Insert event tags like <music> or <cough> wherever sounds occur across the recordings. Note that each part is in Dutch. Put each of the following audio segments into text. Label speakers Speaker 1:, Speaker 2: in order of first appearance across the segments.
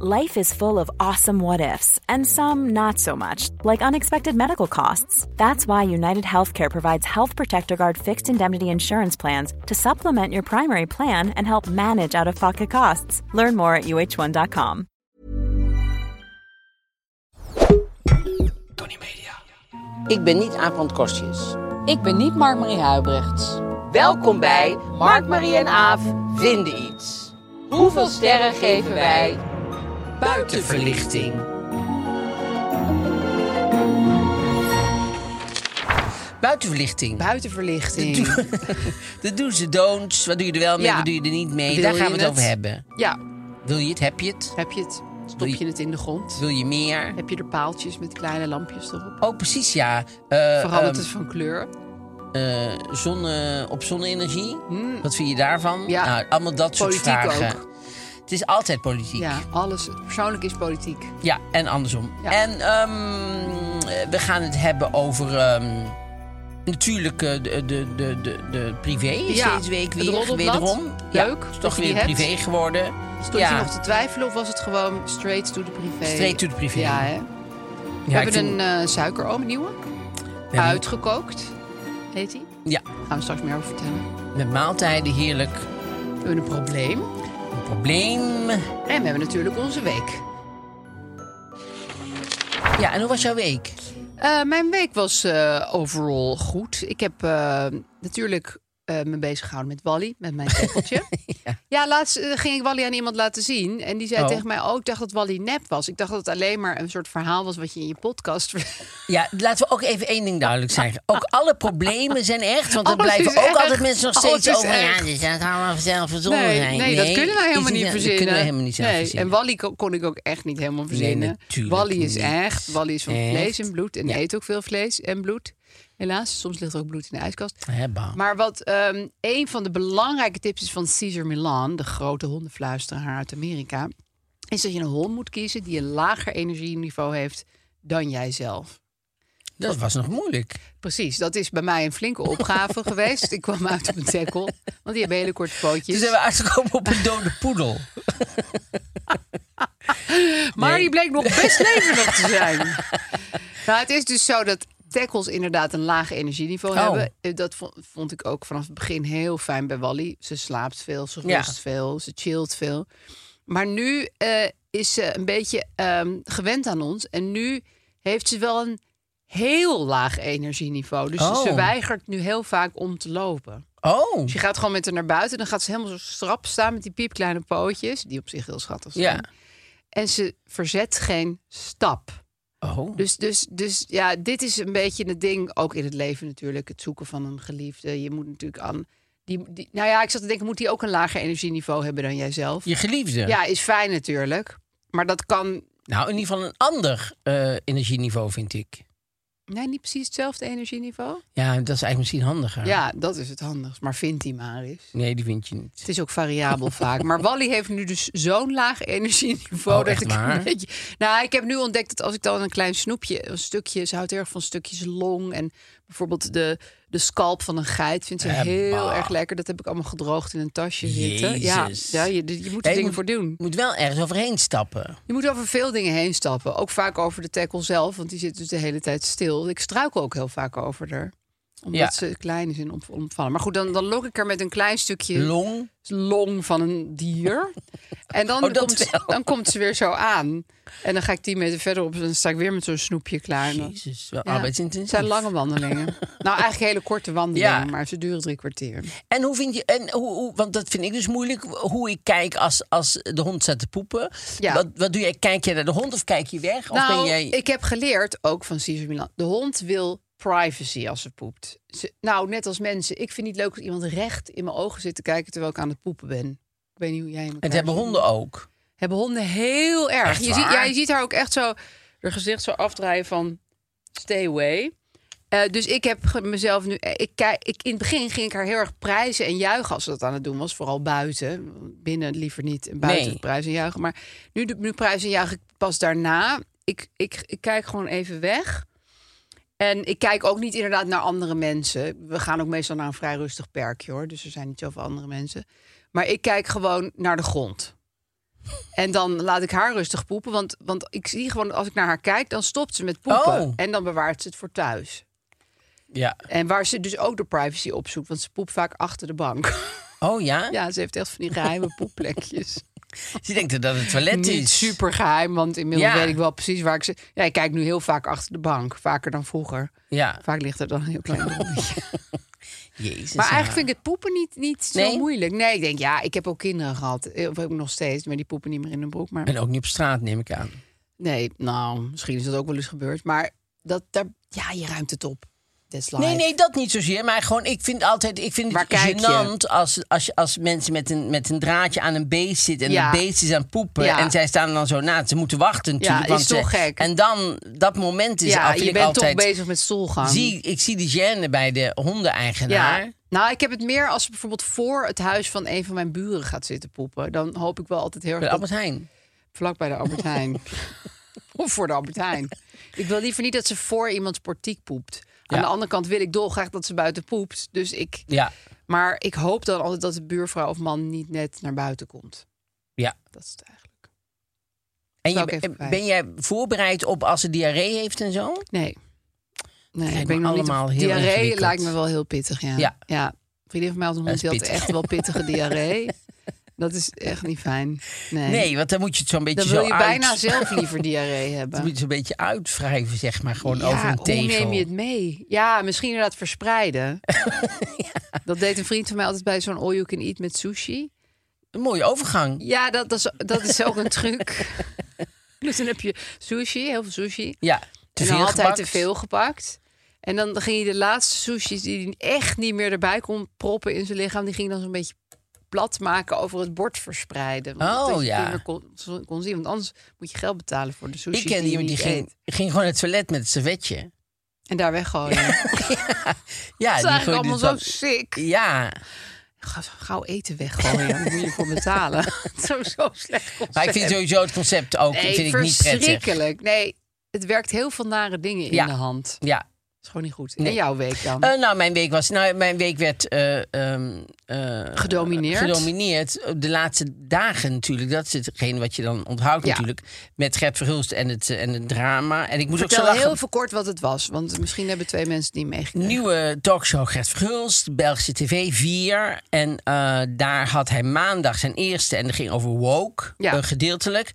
Speaker 1: Life is full of awesome what ifs, and some not so much, like unexpected medical costs. That's why United Healthcare provides Health Protector Guard fixed indemnity insurance plans to supplement your primary plan and help manage out of pocket costs. Learn more at uh1.com.
Speaker 2: Tony Media.
Speaker 3: Ik ben niet Aaf van het Kostjes.
Speaker 4: Ik ben niet Mark-Marie Huibrechts.
Speaker 3: Welkom bij Mark, Marie en Aaf vinden iets. Hoeveel sterren geven wij? Buitenverlichting. Buitenverlichting. <laughs>
Speaker 4: Buitenverlichting.
Speaker 3: De do's, de don'ts. Wat doe je er wel mee,
Speaker 4: Ja.
Speaker 3: wat doe je er niet mee?
Speaker 4: Wil
Speaker 3: Daar gaan
Speaker 4: je
Speaker 3: we het,
Speaker 4: het?
Speaker 3: over hebben.
Speaker 4: ja,
Speaker 3: Wil je het? Heb je het?
Speaker 4: heb je het? Stop je het in de grond?
Speaker 3: Wil je meer?
Speaker 4: Heb je er paaltjes met kleine lampjes erop?
Speaker 3: Oh, precies, ja. Eh,
Speaker 4: Verandert het van kleur?
Speaker 3: eh, zonne, op zonne-energie. Wat vind je daarvan?
Speaker 4: Hmm. Ja.
Speaker 3: Nou, allemaal dat soort
Speaker 4: Politiek
Speaker 3: vragen.
Speaker 4: ook.
Speaker 3: Het is altijd politiek.
Speaker 4: Ja, alles. Persoonlijk is politiek.
Speaker 3: Ja, en andersom.
Speaker 4: Ja.
Speaker 3: En ehm, we gaan het hebben over. ehm, natuurlijk eh, de, de, de, de, de privé is
Speaker 4: Ja,
Speaker 3: deze week
Speaker 4: het
Speaker 3: weer.
Speaker 4: roddelblad.
Speaker 3: wederom.
Speaker 4: Leuk
Speaker 3: Ja, is
Speaker 4: dat
Speaker 3: toch
Speaker 4: je die
Speaker 3: weer
Speaker 4: hebt.
Speaker 3: privé geworden.
Speaker 4: Stond
Speaker 3: ja.
Speaker 4: je nog te twijfelen of was het gewoon straight to the privé?
Speaker 3: Straight to the privé.
Speaker 4: Ja, hè? We
Speaker 3: Ja, ik
Speaker 4: hebben
Speaker 3: vind-
Speaker 4: een eh suikeroom, nieuwe.
Speaker 3: we hebben-
Speaker 4: Uitgekookt, heet die.
Speaker 3: Ja,
Speaker 4: Gaan we straks meer over vertellen.
Speaker 3: met maaltijden heerlijk.
Speaker 4: We hebben een probleem.
Speaker 3: Een probleem.
Speaker 4: En we hebben natuurlijk onze week.
Speaker 3: Ja, en hoe was jouw week?
Speaker 4: Eh, mijn week was eh overal goed. Ik heb eh, natuurlijk eh, me bezig gehouden met Wally, met mijn
Speaker 3: <laughs>
Speaker 4: tepeltje. ja. laatst eh, ging ik Wally aan iemand laten zien. En die zei
Speaker 3: Oh.
Speaker 4: tegen mij, oh, ik dacht dat Wally nep was. Ik dacht dat het alleen maar een soort verhaal was wat je in je podcast... <laughs>
Speaker 3: Ja, laten we ook even één ding duidelijk zeggen. Ook alle problemen zijn echt, want er
Speaker 4: Alles
Speaker 3: blijven
Speaker 4: is
Speaker 3: ook
Speaker 4: echt.
Speaker 3: altijd mensen nog
Speaker 4: Alles
Speaker 3: steeds
Speaker 4: is
Speaker 3: over.
Speaker 4: echt.
Speaker 3: Ja, dus dat gaan we zelf verzonnen
Speaker 4: nee,
Speaker 3: zijn.
Speaker 4: nee, dat kunnen wij helemaal
Speaker 3: is
Speaker 4: niet verzinnen.
Speaker 3: Dat kunnen we helemaal niet zelf
Speaker 4: nee.
Speaker 3: verzinnen.
Speaker 4: En Wally ko- kon ik ook echt niet helemaal verzinnen.
Speaker 3: natuurlijk
Speaker 4: Wally is
Speaker 3: niet.
Speaker 4: echt, Wally is van
Speaker 3: Echt.
Speaker 4: vlees en bloed. En
Speaker 3: Ja.
Speaker 4: eet ook veel vlees en bloed. Helaas, soms ligt er ook bloed in de ijskast.
Speaker 3: Hè, bam.
Speaker 4: Maar wat ehm, een van de belangrijke tips is van Caesar Milan, de grote hondenfluisteraar uit Amerika, is dat je een hond moet kiezen die een lager energieniveau heeft dan jijzelf.
Speaker 3: Dat was nog moeilijk.
Speaker 4: Precies, dat is bij mij een flinke opgave <laughs> geweest. Ik kwam uit op een tackle, want die hebben hele korte
Speaker 3: Toen
Speaker 4: pootjes.
Speaker 3: zijn we uitgekomen op een dode poedel.
Speaker 4: Maar die bleek nog best levendig te zijn. nou, het is dus zo dat tackles inderdaad een laag energieniveau
Speaker 3: Oh.
Speaker 4: hebben. Eh, Dat vond, vond ik ook vanaf het begin heel fijn bij Wally. Ze slaapt veel, ze rust
Speaker 3: Ja.
Speaker 4: veel, ze chillt veel. Maar nu eh, is ze een beetje ehm, gewend aan ons. En nu heeft ze wel een heel laag energieniveau. Dus
Speaker 3: Oh.
Speaker 4: ze weigert nu heel vaak om te lopen.
Speaker 3: Oh,
Speaker 4: Dus je gaat gewoon met haar naar buiten. Dan gaat ze helemaal zo strap staan met die piepkleine pootjes. Die op zich heel schattig zijn.
Speaker 3: ja.
Speaker 4: En ze verzet geen stap.
Speaker 3: Oh,
Speaker 4: Dus, dus, dus ja, dit is een beetje het ding, ook in het leven natuurlijk, het zoeken van een geliefde. Je moet natuurlijk aan. Die, die, nou ja, ik zat te denken, moet die ook een lager energieniveau hebben dan jijzelf?
Speaker 3: je geliefde.
Speaker 4: Ja, is fijn natuurlijk. Maar dat kan.
Speaker 3: Nou, in ieder geval een ander eh, energieniveau, vind ik.
Speaker 4: Nee, niet precies hetzelfde energieniveau.
Speaker 3: Ja, dat is eigenlijk misschien handiger.
Speaker 4: Ja, dat is het handigst. Maar vindt die maar eens.
Speaker 3: Nee, die vind je niet.
Speaker 4: Het is ook variabel <laughs> vaak. Maar Wally heeft nu dus zo'n laag energieniveau.
Speaker 3: Oh,
Speaker 4: dat
Speaker 3: echt
Speaker 4: ik
Speaker 3: waar?
Speaker 4: een beetje. Nou, ik heb nu ontdekt dat als ik dan een klein snoepje, een stukje, ze houdt heel erg van stukjes long. En bijvoorbeeld de, de scalp van een geit vindt ze
Speaker 3: Eh,
Speaker 4: heel
Speaker 3: bah.
Speaker 4: erg lekker. Dat heb ik allemaal gedroogd in een tasje zitten. Ja,
Speaker 3: Jezus.
Speaker 4: ja je, je moet er
Speaker 3: Ja, je
Speaker 4: dingen
Speaker 3: moet-
Speaker 4: voor doen.
Speaker 3: Je moet wel ergens overheen stappen.
Speaker 4: Je moet over veel dingen heen stappen. Ook vaak over de tackle zelf, want die zit dus de hele tijd stil. Ik struikel ook heel vaak over haar. Omdat
Speaker 3: Ja.
Speaker 4: ze klein is en om- omvallen. Maar goed, dan, dan lok ik er met een klein stukje
Speaker 3: Long.
Speaker 4: long van een
Speaker 3: <laughs>
Speaker 4: dier. En dan,
Speaker 3: Oh, dat
Speaker 4: komt,
Speaker 3: wel.
Speaker 4: dan komt ze weer zo aan. En dan ga ik tien meter verder op. en Dan sta ik weer met zo'n snoepje klaar. En dan-
Speaker 3: Jezus, Ah, wel
Speaker 4: Ja,
Speaker 3: arbeidsintensief.
Speaker 4: Het zijn lange
Speaker 3: <laughs>
Speaker 4: wandelingen. nou, eigenlijk hele korte wandelingen,
Speaker 3: Ja.
Speaker 4: maar ze duren drie kwartier.
Speaker 3: En hoe vind je, en hoe, hoe- want dat vind ik dus moeilijk, hoe ik kijk als, als de hond staat te poepen.
Speaker 4: Ja.
Speaker 3: Wat, wat doe jij? Kijk je naar de hond of kijk je weg? Of
Speaker 4: nou,
Speaker 3: ben jij...
Speaker 4: ik heb geleerd, ook van Caesar Milan, de hond wil privacy als ze poept. Ze- nou, net als mensen. Ik vind niet leuk als iemand recht in mijn ogen zit te kijken terwijl ik aan het poepen ben. Ik weet niet hoe jij me
Speaker 3: Het hebben honden ook.
Speaker 4: hebben honden heel erg.
Speaker 3: Echt
Speaker 4: je, ziet, ja,
Speaker 3: waar?
Speaker 4: je ziet haar ook echt zo haar gezicht zo afdraaien van stay away. Eh, dus ik heb ge- mezelf nu. eh, Ik, kijk, ik, in het begin ging ik haar heel erg prijzen en juichen als ze dat aan het doen was. Vooral buiten. Binnen liever niet. En buiten
Speaker 3: Nee.
Speaker 4: prijzen en juichen. Maar nu, doe- nu prijzen en juichen ik pas daarna. Ik, ik, ik kijk gewoon even weg. En ik kijk ook niet inderdaad naar andere mensen. We gaan ook meestal naar een vrij rustig perkje hoor. Dus er zijn niet zoveel andere mensen. Maar ik kijk gewoon naar de grond. En dan laat ik haar rustig poepen. Want, want ik zie gewoon, als ik naar haar kijk, dan stopt ze met poepen.
Speaker 3: Oh.
Speaker 4: En dan bewaart ze het voor thuis.
Speaker 3: Ja.
Speaker 4: En waar ze dus ook de privacy opzoekt. Want ze poept vaak achter de bank. <laughs>
Speaker 3: Oh ja?
Speaker 4: ja, ze heeft echt van die geheime <laughs> poepplekjes.
Speaker 3: Ze denkt dat het toilet
Speaker 4: Niet
Speaker 3: is.
Speaker 4: super geheim, want inmiddels
Speaker 3: Ja.
Speaker 4: weet ik wel precies waar ik ze... Ja, ik kijk nu heel vaak achter de bank. Vaker dan vroeger.
Speaker 3: Ja.
Speaker 4: Vaak ligt er dan een heel <laughs> klein dingetje.
Speaker 3: Jezus.
Speaker 4: Maar eigenlijk vind ik het poepen niet, niet zo
Speaker 3: Nee?
Speaker 4: moeilijk. Nee, ik denk, ja, ik heb ook kinderen gehad. Eh, Of heb ik nog steeds, maar die poepen niet meer in hun broek. Maar...
Speaker 3: En ook niet op straat, neem ik aan.
Speaker 4: Nee, nou, misschien is dat ook wel eens gebeurd. Maar dat, daar, ja, je ruimt het op. That's life.
Speaker 3: Nee, nee, dat niet zozeer. Maar gewoon, ik vind altijd, ik vind
Speaker 4: Oh, Waar
Speaker 3: het
Speaker 4: kijk je?
Speaker 3: gênant als, als, je- als mensen met een, met een draadje aan een beest zitten en
Speaker 4: Ja.
Speaker 3: dat beest is aan het poepen
Speaker 4: Ja.
Speaker 3: en zij staan dan zo na. Ze moeten wachten natuurlijk.
Speaker 4: is
Speaker 3: want ze-
Speaker 4: toch gek.
Speaker 3: En dan, dat moment is
Speaker 4: Ja,
Speaker 3: af.
Speaker 4: je
Speaker 3: ik
Speaker 4: bent
Speaker 3: altijd,
Speaker 4: toch bezig met stoelgang.
Speaker 3: Zie, ik zie de gêne bij de hondeneigenaar.
Speaker 4: ja. Nou, ik heb het meer als ze bijvoorbeeld voor het huis van een van mijn buren gaat zitten poepen. Dan hoop ik wel altijd heel
Speaker 3: Bij
Speaker 4: erg
Speaker 3: Albert
Speaker 4: dat
Speaker 3: Heijn.
Speaker 4: vlak bij de Albert <laughs> Heijn. of voor de Albert Heijn. Ik wil liever niet dat ze voor iemands portiek poept. Aan
Speaker 3: Ja.
Speaker 4: de andere kant wil ik dolgraag dat ze buiten poept. Dus ik...
Speaker 3: Ja,
Speaker 4: Maar ik hoop dan altijd dat de buurvrouw of man niet net naar buiten komt.
Speaker 3: ja.
Speaker 4: Dat is het eigenlijk.
Speaker 3: En
Speaker 4: Zou ik
Speaker 3: je,
Speaker 4: even kwijt.
Speaker 3: ben jij voorbereid op als ze diarree heeft en zo?
Speaker 4: Nee. Nee,
Speaker 3: lijkt
Speaker 4: ik ben
Speaker 3: me
Speaker 4: nog niet
Speaker 3: allemaal
Speaker 4: op-
Speaker 3: heel
Speaker 4: Diarree
Speaker 3: ingewikkeld.
Speaker 4: lijkt me wel heel pittig, ja.
Speaker 3: Ja.
Speaker 4: Een vriendin van mij had een hond,
Speaker 3: Dat is
Speaker 4: die had
Speaker 3: pittig.
Speaker 4: echt wel
Speaker 3: <laughs>
Speaker 4: pittige diarree. Dat is echt niet fijn. Nee,
Speaker 3: Nee, want dan moet je het zo'n beetje
Speaker 4: dan wil
Speaker 3: zo
Speaker 4: je
Speaker 3: uit...
Speaker 4: bijna zelf
Speaker 3: <laughs>
Speaker 4: liever diarree hebben.
Speaker 3: Dan moet je het zo'n beetje uitwrijven, zeg maar. Gewoon
Speaker 4: ja,
Speaker 3: over een
Speaker 4: hoe
Speaker 3: tegel.
Speaker 4: neem je het mee? Ja, misschien inderdaad
Speaker 3: <laughs>
Speaker 4: verspreiden. Dat deed een vriend van mij altijd bij zo'n all you can eat met sushi.
Speaker 3: Een mooie overgang.
Speaker 4: Ja, dat, dat, is, dat is ook een
Speaker 3: <laughs>
Speaker 4: truc. dus dan heb je sushi, heel veel sushi.
Speaker 3: Ja, te
Speaker 4: en
Speaker 3: veel
Speaker 4: dan had hij
Speaker 3: gepakt.
Speaker 4: te veel gepakt. En dan ging hij de laatste sushis die hij echt niet meer erbij kon proppen in zijn lichaam, die ging dan zo'n beetje plat maken over het bord verspreiden. Want
Speaker 3: Oh,
Speaker 4: dat je
Speaker 3: ja.
Speaker 4: het niet meer kon, kon zien, want anders moet je geld betalen voor de sushi.
Speaker 3: Ik kende
Speaker 4: die, je
Speaker 3: iemand die
Speaker 4: niet
Speaker 3: ging,
Speaker 4: eet.
Speaker 3: ging gewoon het toilet met het servetje.
Speaker 4: en daar
Speaker 3: <laughs>
Speaker 4: weggooien. dat
Speaker 3: Ja,
Speaker 4: is
Speaker 3: die
Speaker 4: eigenlijk
Speaker 3: gooide
Speaker 4: allemaal zo
Speaker 3: het
Speaker 4: sick.
Speaker 3: dan- Ja,
Speaker 4: Ga- Gauw eten weggooien, daar moet je voor betalen. <laughs> zo, zo slecht concept.
Speaker 3: maar ik vind sowieso het concept ook
Speaker 4: nee,
Speaker 3: vind ik niet prettig.
Speaker 4: verschrikkelijk. Nee, het werkt heel veel nare dingen in
Speaker 3: Ja.
Speaker 4: de hand. Dat
Speaker 3: Ja.
Speaker 4: is gewoon niet goed. En jouw week dan?
Speaker 3: Eh, nou, mijn week was. Nou, mijn week werd eh, ehm, eh,
Speaker 4: Gedomineerd?
Speaker 3: Gedomineerd. eh, De laatste dagen natuurlijk. Dat is hetgeen wat je dan onthoudt
Speaker 4: Ja.
Speaker 3: natuurlijk. Met Gert Verhulst en het, eh, en het drama. En ik moest
Speaker 4: Vertel
Speaker 3: ook zo lachen.
Speaker 4: heel verkort wat het was, want misschien hebben twee mensen die meegekregen.
Speaker 3: Nieuwe talkshow Gert Verhulst, Belgische TV 4. En eh, daar had hij maandag zijn eerste en dat ging over woke,
Speaker 4: Ja.
Speaker 3: eh, gedeeltelijk.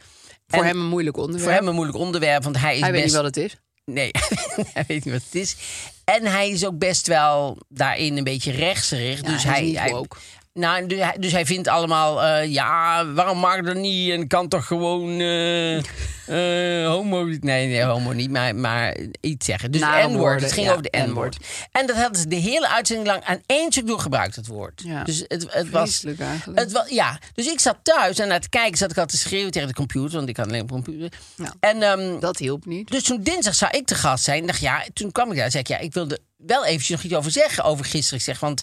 Speaker 4: Voor
Speaker 3: En
Speaker 4: hem een moeilijk onderwerp.
Speaker 3: voor hem een moeilijk onderwerp, want hij is
Speaker 4: Hij weet
Speaker 3: best...
Speaker 4: niet wat het is.
Speaker 3: Nee, <laughs> hij weet niet wat het is. En hij is ook best wel daarin een beetje rechtserig. dus
Speaker 4: hij is
Speaker 3: hij,
Speaker 4: niet
Speaker 3: hij-
Speaker 4: woke.
Speaker 3: nou, dus hij- dus hij vindt allemaal, eh, ja, waarom mag dat niet? En kan toch gewoon
Speaker 4: <laughs>
Speaker 3: eh, eh, homo... Nee, nee, homo niet, maar, maar iets zeggen. Dus
Speaker 4: Nare
Speaker 3: N-woord,
Speaker 4: woorden,
Speaker 3: het ging
Speaker 4: ja,
Speaker 3: over de N-woord. En dat hadden ze de hele uitzending lang aan één stuk doorgebruikt, dat woord.
Speaker 4: Ja.
Speaker 3: Dus het, het was...
Speaker 4: Vreselijk eigenlijk.
Speaker 3: Het wa- ja, dus ik zat thuis en naar het kijken zat ik al te schreeuwen tegen de computer, want ik had alleen een computer.
Speaker 4: Ja.
Speaker 3: En ehm,
Speaker 4: Dat hielp niet.
Speaker 3: dus toen dinsdag zou ik te gast zijn. Dacht, ja, toen kwam ik daar en zei ik, ja, ik wilde wel eventjes nog iets over zeggen over gisteren. Ik zeg, want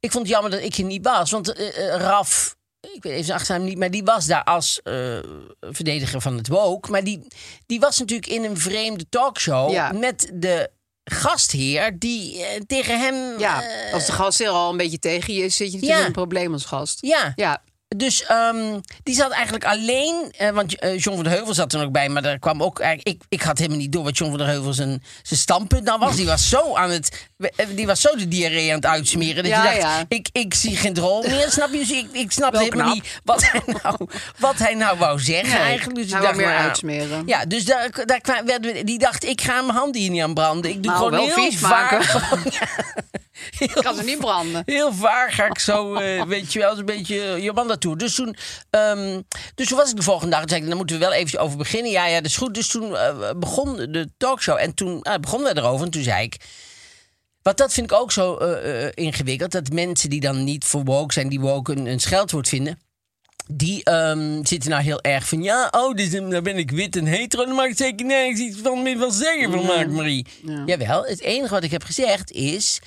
Speaker 3: ik vond het jammer dat ik hier niet was. Want eh, eh, Raf, ik weet even zijn achternaam niet, maar die was daar als eh, verdediger van het woke. Maar die, die was natuurlijk in een vreemde talkshow
Speaker 4: Ja.
Speaker 3: met de gastheer die eh, tegen hem...
Speaker 4: Ja,
Speaker 3: eh,
Speaker 4: als de gastheer al een beetje tegen je is, zit je natuurlijk
Speaker 3: Ja.
Speaker 4: in een probleem als gast.
Speaker 3: ja.
Speaker 4: Ja,
Speaker 3: Dus ehm, die zat eigenlijk alleen, eh, want eh, John van der Heuvel zat er ook bij, maar daar kwam ook eigenlijk, ik, ik had helemaal niet door wat John van der Heuvel zijn, zijn standpunt nou was. Die was zo aan het, eh, die was zo de diarree aan het uitsmeren dat
Speaker 4: Ja,
Speaker 3: je dacht,
Speaker 4: ja.
Speaker 3: ik, ik zie geen drol
Speaker 4: <laughs>
Speaker 3: meer, snap je? Dus ik, ik snap
Speaker 4: Wel
Speaker 3: helemaal
Speaker 4: knap.
Speaker 3: niet wat hij nou, wat hij nou wou zeggen
Speaker 4: Nee,
Speaker 3: eigenlijk. Dus ik
Speaker 4: hij wou
Speaker 3: dacht,
Speaker 4: meer
Speaker 3: nou,
Speaker 4: uitsmeren.
Speaker 3: Ja, dus daar, daar kwam, werden we- die dacht, ik ga mijn handen hier niet aan branden. Ik doe
Speaker 4: Nou,
Speaker 3: gewoon
Speaker 4: wel
Speaker 3: heel
Speaker 4: vies maken.
Speaker 3: vaak. gewoon- <laughs> ja, heel
Speaker 4: ik kan ze
Speaker 3: Oh.
Speaker 4: niet <laughs> branden.
Speaker 3: Heel vaar ga ik zo, eh, weet je wel, een beetje Jomanda toe. Dus toen, ehm, dus toen was ik de volgende dag. Toen zei ik, daar moeten we wel even over beginnen. Ja, ja, dat is goed. Dus toen eh, begon de talkshow. En toen ah, begonnen we erover. En toen zei ik... Want dat vind ik ook zo eh, eh, ingewikkeld. Dat mensen die dan niet voor woke zijn, die woke een, een scheldwoord vinden... Die ehm, zitten nou heel erg van... Ja, oh, dus, ehm, dan ben ik wit en hetero. Dan mag ik zeker nergens iets van meer van zeggen van Mark Marie. Jawel, het enige wat ik heb gezegd is...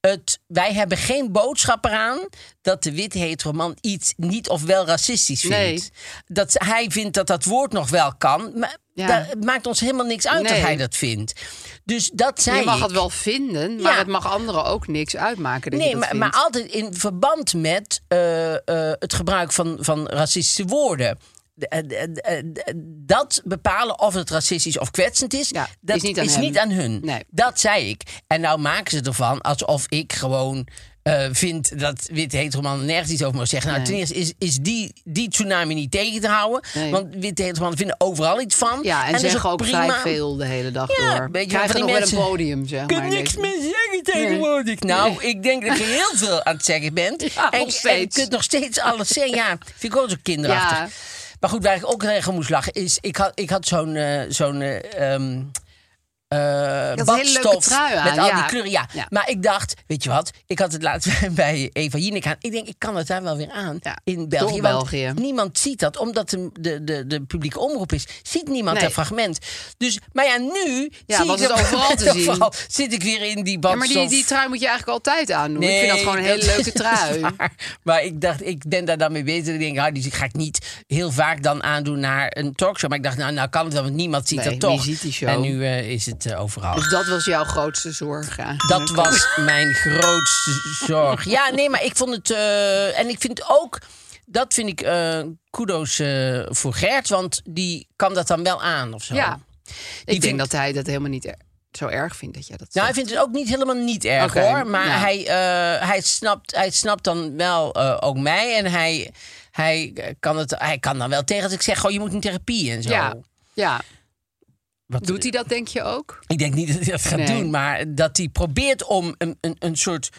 Speaker 3: Het, wij hebben geen boodschap eraan dat de wit hetero man iets niet of wel racistisch vindt.
Speaker 4: Nee.
Speaker 3: Dat ze- hij vindt dat dat woord nog wel kan. Maar
Speaker 4: Ja.
Speaker 3: daar- het maakt ons helemaal niks uit dat
Speaker 4: Nee.
Speaker 3: hij dat vindt. Dus dat zei
Speaker 4: Je mag
Speaker 3: ik.
Speaker 4: het wel vinden, maar
Speaker 3: Ja.
Speaker 4: het mag anderen ook niks uitmaken. Dat
Speaker 3: Nee,
Speaker 4: je dat
Speaker 3: maar,
Speaker 4: vindt.
Speaker 3: maar altijd in verband met eh, eh, het gebruik van, van racistische woorden. De- eh, de- eh, de- Dat bepalen of het racistisch of kwetsend is,
Speaker 4: Ja,
Speaker 3: dat
Speaker 4: is niet aan hem.
Speaker 3: hun.
Speaker 4: Nee.
Speaker 3: Dat zei ik. En nou maken ze ervan alsof ik gewoon eh, vind dat wit heteroman nergens iets over mag zeggen. Nou, ten eerste is, is die, die tsunami niet tegen te houden.
Speaker 4: Nee.
Speaker 3: Want wit heteroman vinden overal iets van.
Speaker 4: Ja, en,
Speaker 3: dat is
Speaker 4: zeg ook vrij
Speaker 3: prima.
Speaker 4: veel de hele dag
Speaker 3: Ja,
Speaker 4: door.
Speaker 3: weet je,
Speaker 4: Krijgen
Speaker 3: van die
Speaker 4: nog wel een
Speaker 3: mensen-
Speaker 4: podium, zeg
Speaker 3: Ik
Speaker 4: maar.
Speaker 3: kan
Speaker 4: in
Speaker 3: niks
Speaker 4: deze-
Speaker 3: meer zeggen tegenwoordig. Nou, ik denk dat je heel veel aan het zeggen bent.
Speaker 4: <laughs> Ja,
Speaker 3: en,
Speaker 4: nog
Speaker 3: en je
Speaker 4: steeds.
Speaker 3: kunt nog steeds alles zeggen. Ja, vind ik ook zo kinderachtig.
Speaker 4: Ja.
Speaker 3: Maar goed, waar ik ook tegen moest lachen is... Ik had, ik had zo'n... eh, zo'n eh, ehm, eh,
Speaker 4: een hele leuke
Speaker 3: badstof
Speaker 4: trui aan,
Speaker 3: met al die
Speaker 4: ja.
Speaker 3: kleuren. Ja.
Speaker 4: Ja.
Speaker 3: maar ik dacht, weet je wat? Ik had het laatst <laughs> bij Eva Jinek aan. Ik denk, ik kan het daar wel weer aan
Speaker 4: Ja,
Speaker 3: in België.
Speaker 4: door
Speaker 3: want
Speaker 4: België.
Speaker 3: niemand ziet dat, omdat de, de, de, de publieke omroep is. Ziet niemand
Speaker 4: Nee.
Speaker 3: dat fragment. Dus, maar ja, nu
Speaker 4: Ja,
Speaker 3: zie
Speaker 4: was
Speaker 3: ik
Speaker 4: het
Speaker 3: dat-
Speaker 4: overal
Speaker 3: <laughs>
Speaker 4: te zien.
Speaker 3: overal zit ik weer in die badstof.
Speaker 4: Ja, maar die, die trui moet je eigenlijk altijd aandoen. ik vind dat gewoon een hele
Speaker 3: <laughs> dat
Speaker 4: leuke
Speaker 3: is
Speaker 4: trui.
Speaker 3: waar. Maar ik dacht, ik ben daar dan mee bezig. Ik denk, ah, die ga ik niet heel vaak dan aandoen naar een talkshow. Maar ik dacht, nou, nou kan het wel, want niemand ziet
Speaker 4: Nee,
Speaker 3: dat toch.
Speaker 4: wie ziet die show?
Speaker 3: En nu eh, is het eh, overal.
Speaker 4: Dus dat was jouw grootste zorg. eigenlijk.
Speaker 3: <laughs> Dat was mijn grootste zorg. Ja, nee, maar ik vond het... eh, en ik vind ook... Dat vind ik eh, kudo's eh, voor Gert. Want die kan dat dan wel aan of zo.
Speaker 4: Ja. Ik denk
Speaker 3: vindt-
Speaker 4: dat hij dat helemaal niet er- zo erg vindt dat jij dat
Speaker 3: Nou,
Speaker 4: zegt.
Speaker 3: hij vindt het ook niet helemaal niet erg
Speaker 4: Oké,
Speaker 3: hoor. Maar
Speaker 4: ja.
Speaker 3: hij, eh, hij, snapt, hij snapt dan wel eh, ook mij. En hij, hij, eh, kan het, hij kan dan wel tegen als ik zeg: Goh, je moet in therapie en zo.
Speaker 4: ja. ja.
Speaker 3: Wat-
Speaker 4: Doet hij dat, denk je ook?
Speaker 3: Ik denk niet dat hij dat gaat
Speaker 4: Nee.
Speaker 3: doen. Maar dat hij probeert om een, een, een soort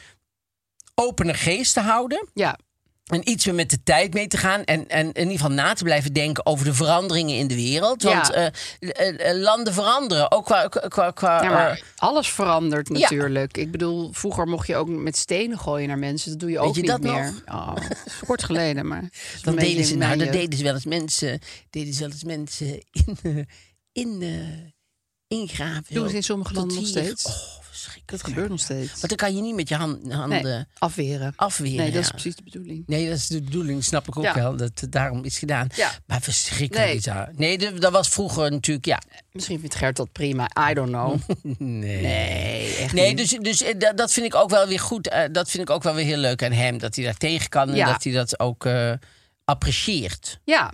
Speaker 3: opene geest te houden.
Speaker 4: Ja.
Speaker 3: En iets meer met de tijd mee te gaan. En, en in ieder geval na te blijven denken over de veranderingen in de wereld.
Speaker 4: Ja.
Speaker 3: Want eh, eh, eh, landen veranderen. Ook qua. qua, qua, qua,
Speaker 4: Ja, maar
Speaker 3: eh,
Speaker 4: alles verandert
Speaker 3: ja.
Speaker 4: natuurlijk. Ik bedoel, vroeger mocht je ook met stenen gooien naar mensen. Dat doe je ook
Speaker 3: je
Speaker 4: niet
Speaker 3: dat
Speaker 4: meer.
Speaker 3: nog?
Speaker 4: Oh, dat is kort geleden, maar. dat is
Speaker 3: <laughs> Dat
Speaker 4: een beetje
Speaker 3: deden ze,
Speaker 4: in eh,
Speaker 3: nou,
Speaker 4: mijn
Speaker 3: dat
Speaker 4: jeugd.
Speaker 3: deden ze wel eens mensen, deden ze wel eens mensen in, eh, in eh, ingraven.
Speaker 4: Doen ze in sommige
Speaker 3: Tot
Speaker 4: landen nog
Speaker 3: hier.
Speaker 4: steeds.
Speaker 3: Oh, verschrikkelijk.
Speaker 4: Dat gebeurt nog steeds.
Speaker 3: Maar dan kan je niet met je hand- handen
Speaker 4: Nee, afweren.
Speaker 3: afweren.
Speaker 4: Nee, dat is
Speaker 3: ja.
Speaker 4: precies de bedoeling.
Speaker 3: Nee, dat is de bedoeling, snap ik ook
Speaker 4: Ja.
Speaker 3: wel. Dat, daarom is gedaan.
Speaker 4: Ja.
Speaker 3: Maar verschrikkelijk
Speaker 4: Nee.
Speaker 3: bizar. Nee, de- dat was vroeger natuurlijk, ja.
Speaker 4: Misschien vindt Gert dat prima. I don't know.
Speaker 3: Nee.
Speaker 4: Nee,
Speaker 3: <laughs>
Speaker 4: echt
Speaker 3: Nee,
Speaker 4: niet.
Speaker 3: dus, dus eh, dat, dat vind ik ook wel weer goed. eh, dat vind ik ook wel weer heel leuk aan hem. Dat hij daar tegen kan en
Speaker 4: Ja.
Speaker 3: dat hij dat ook eh, apprecieert.
Speaker 4: dus- Ja,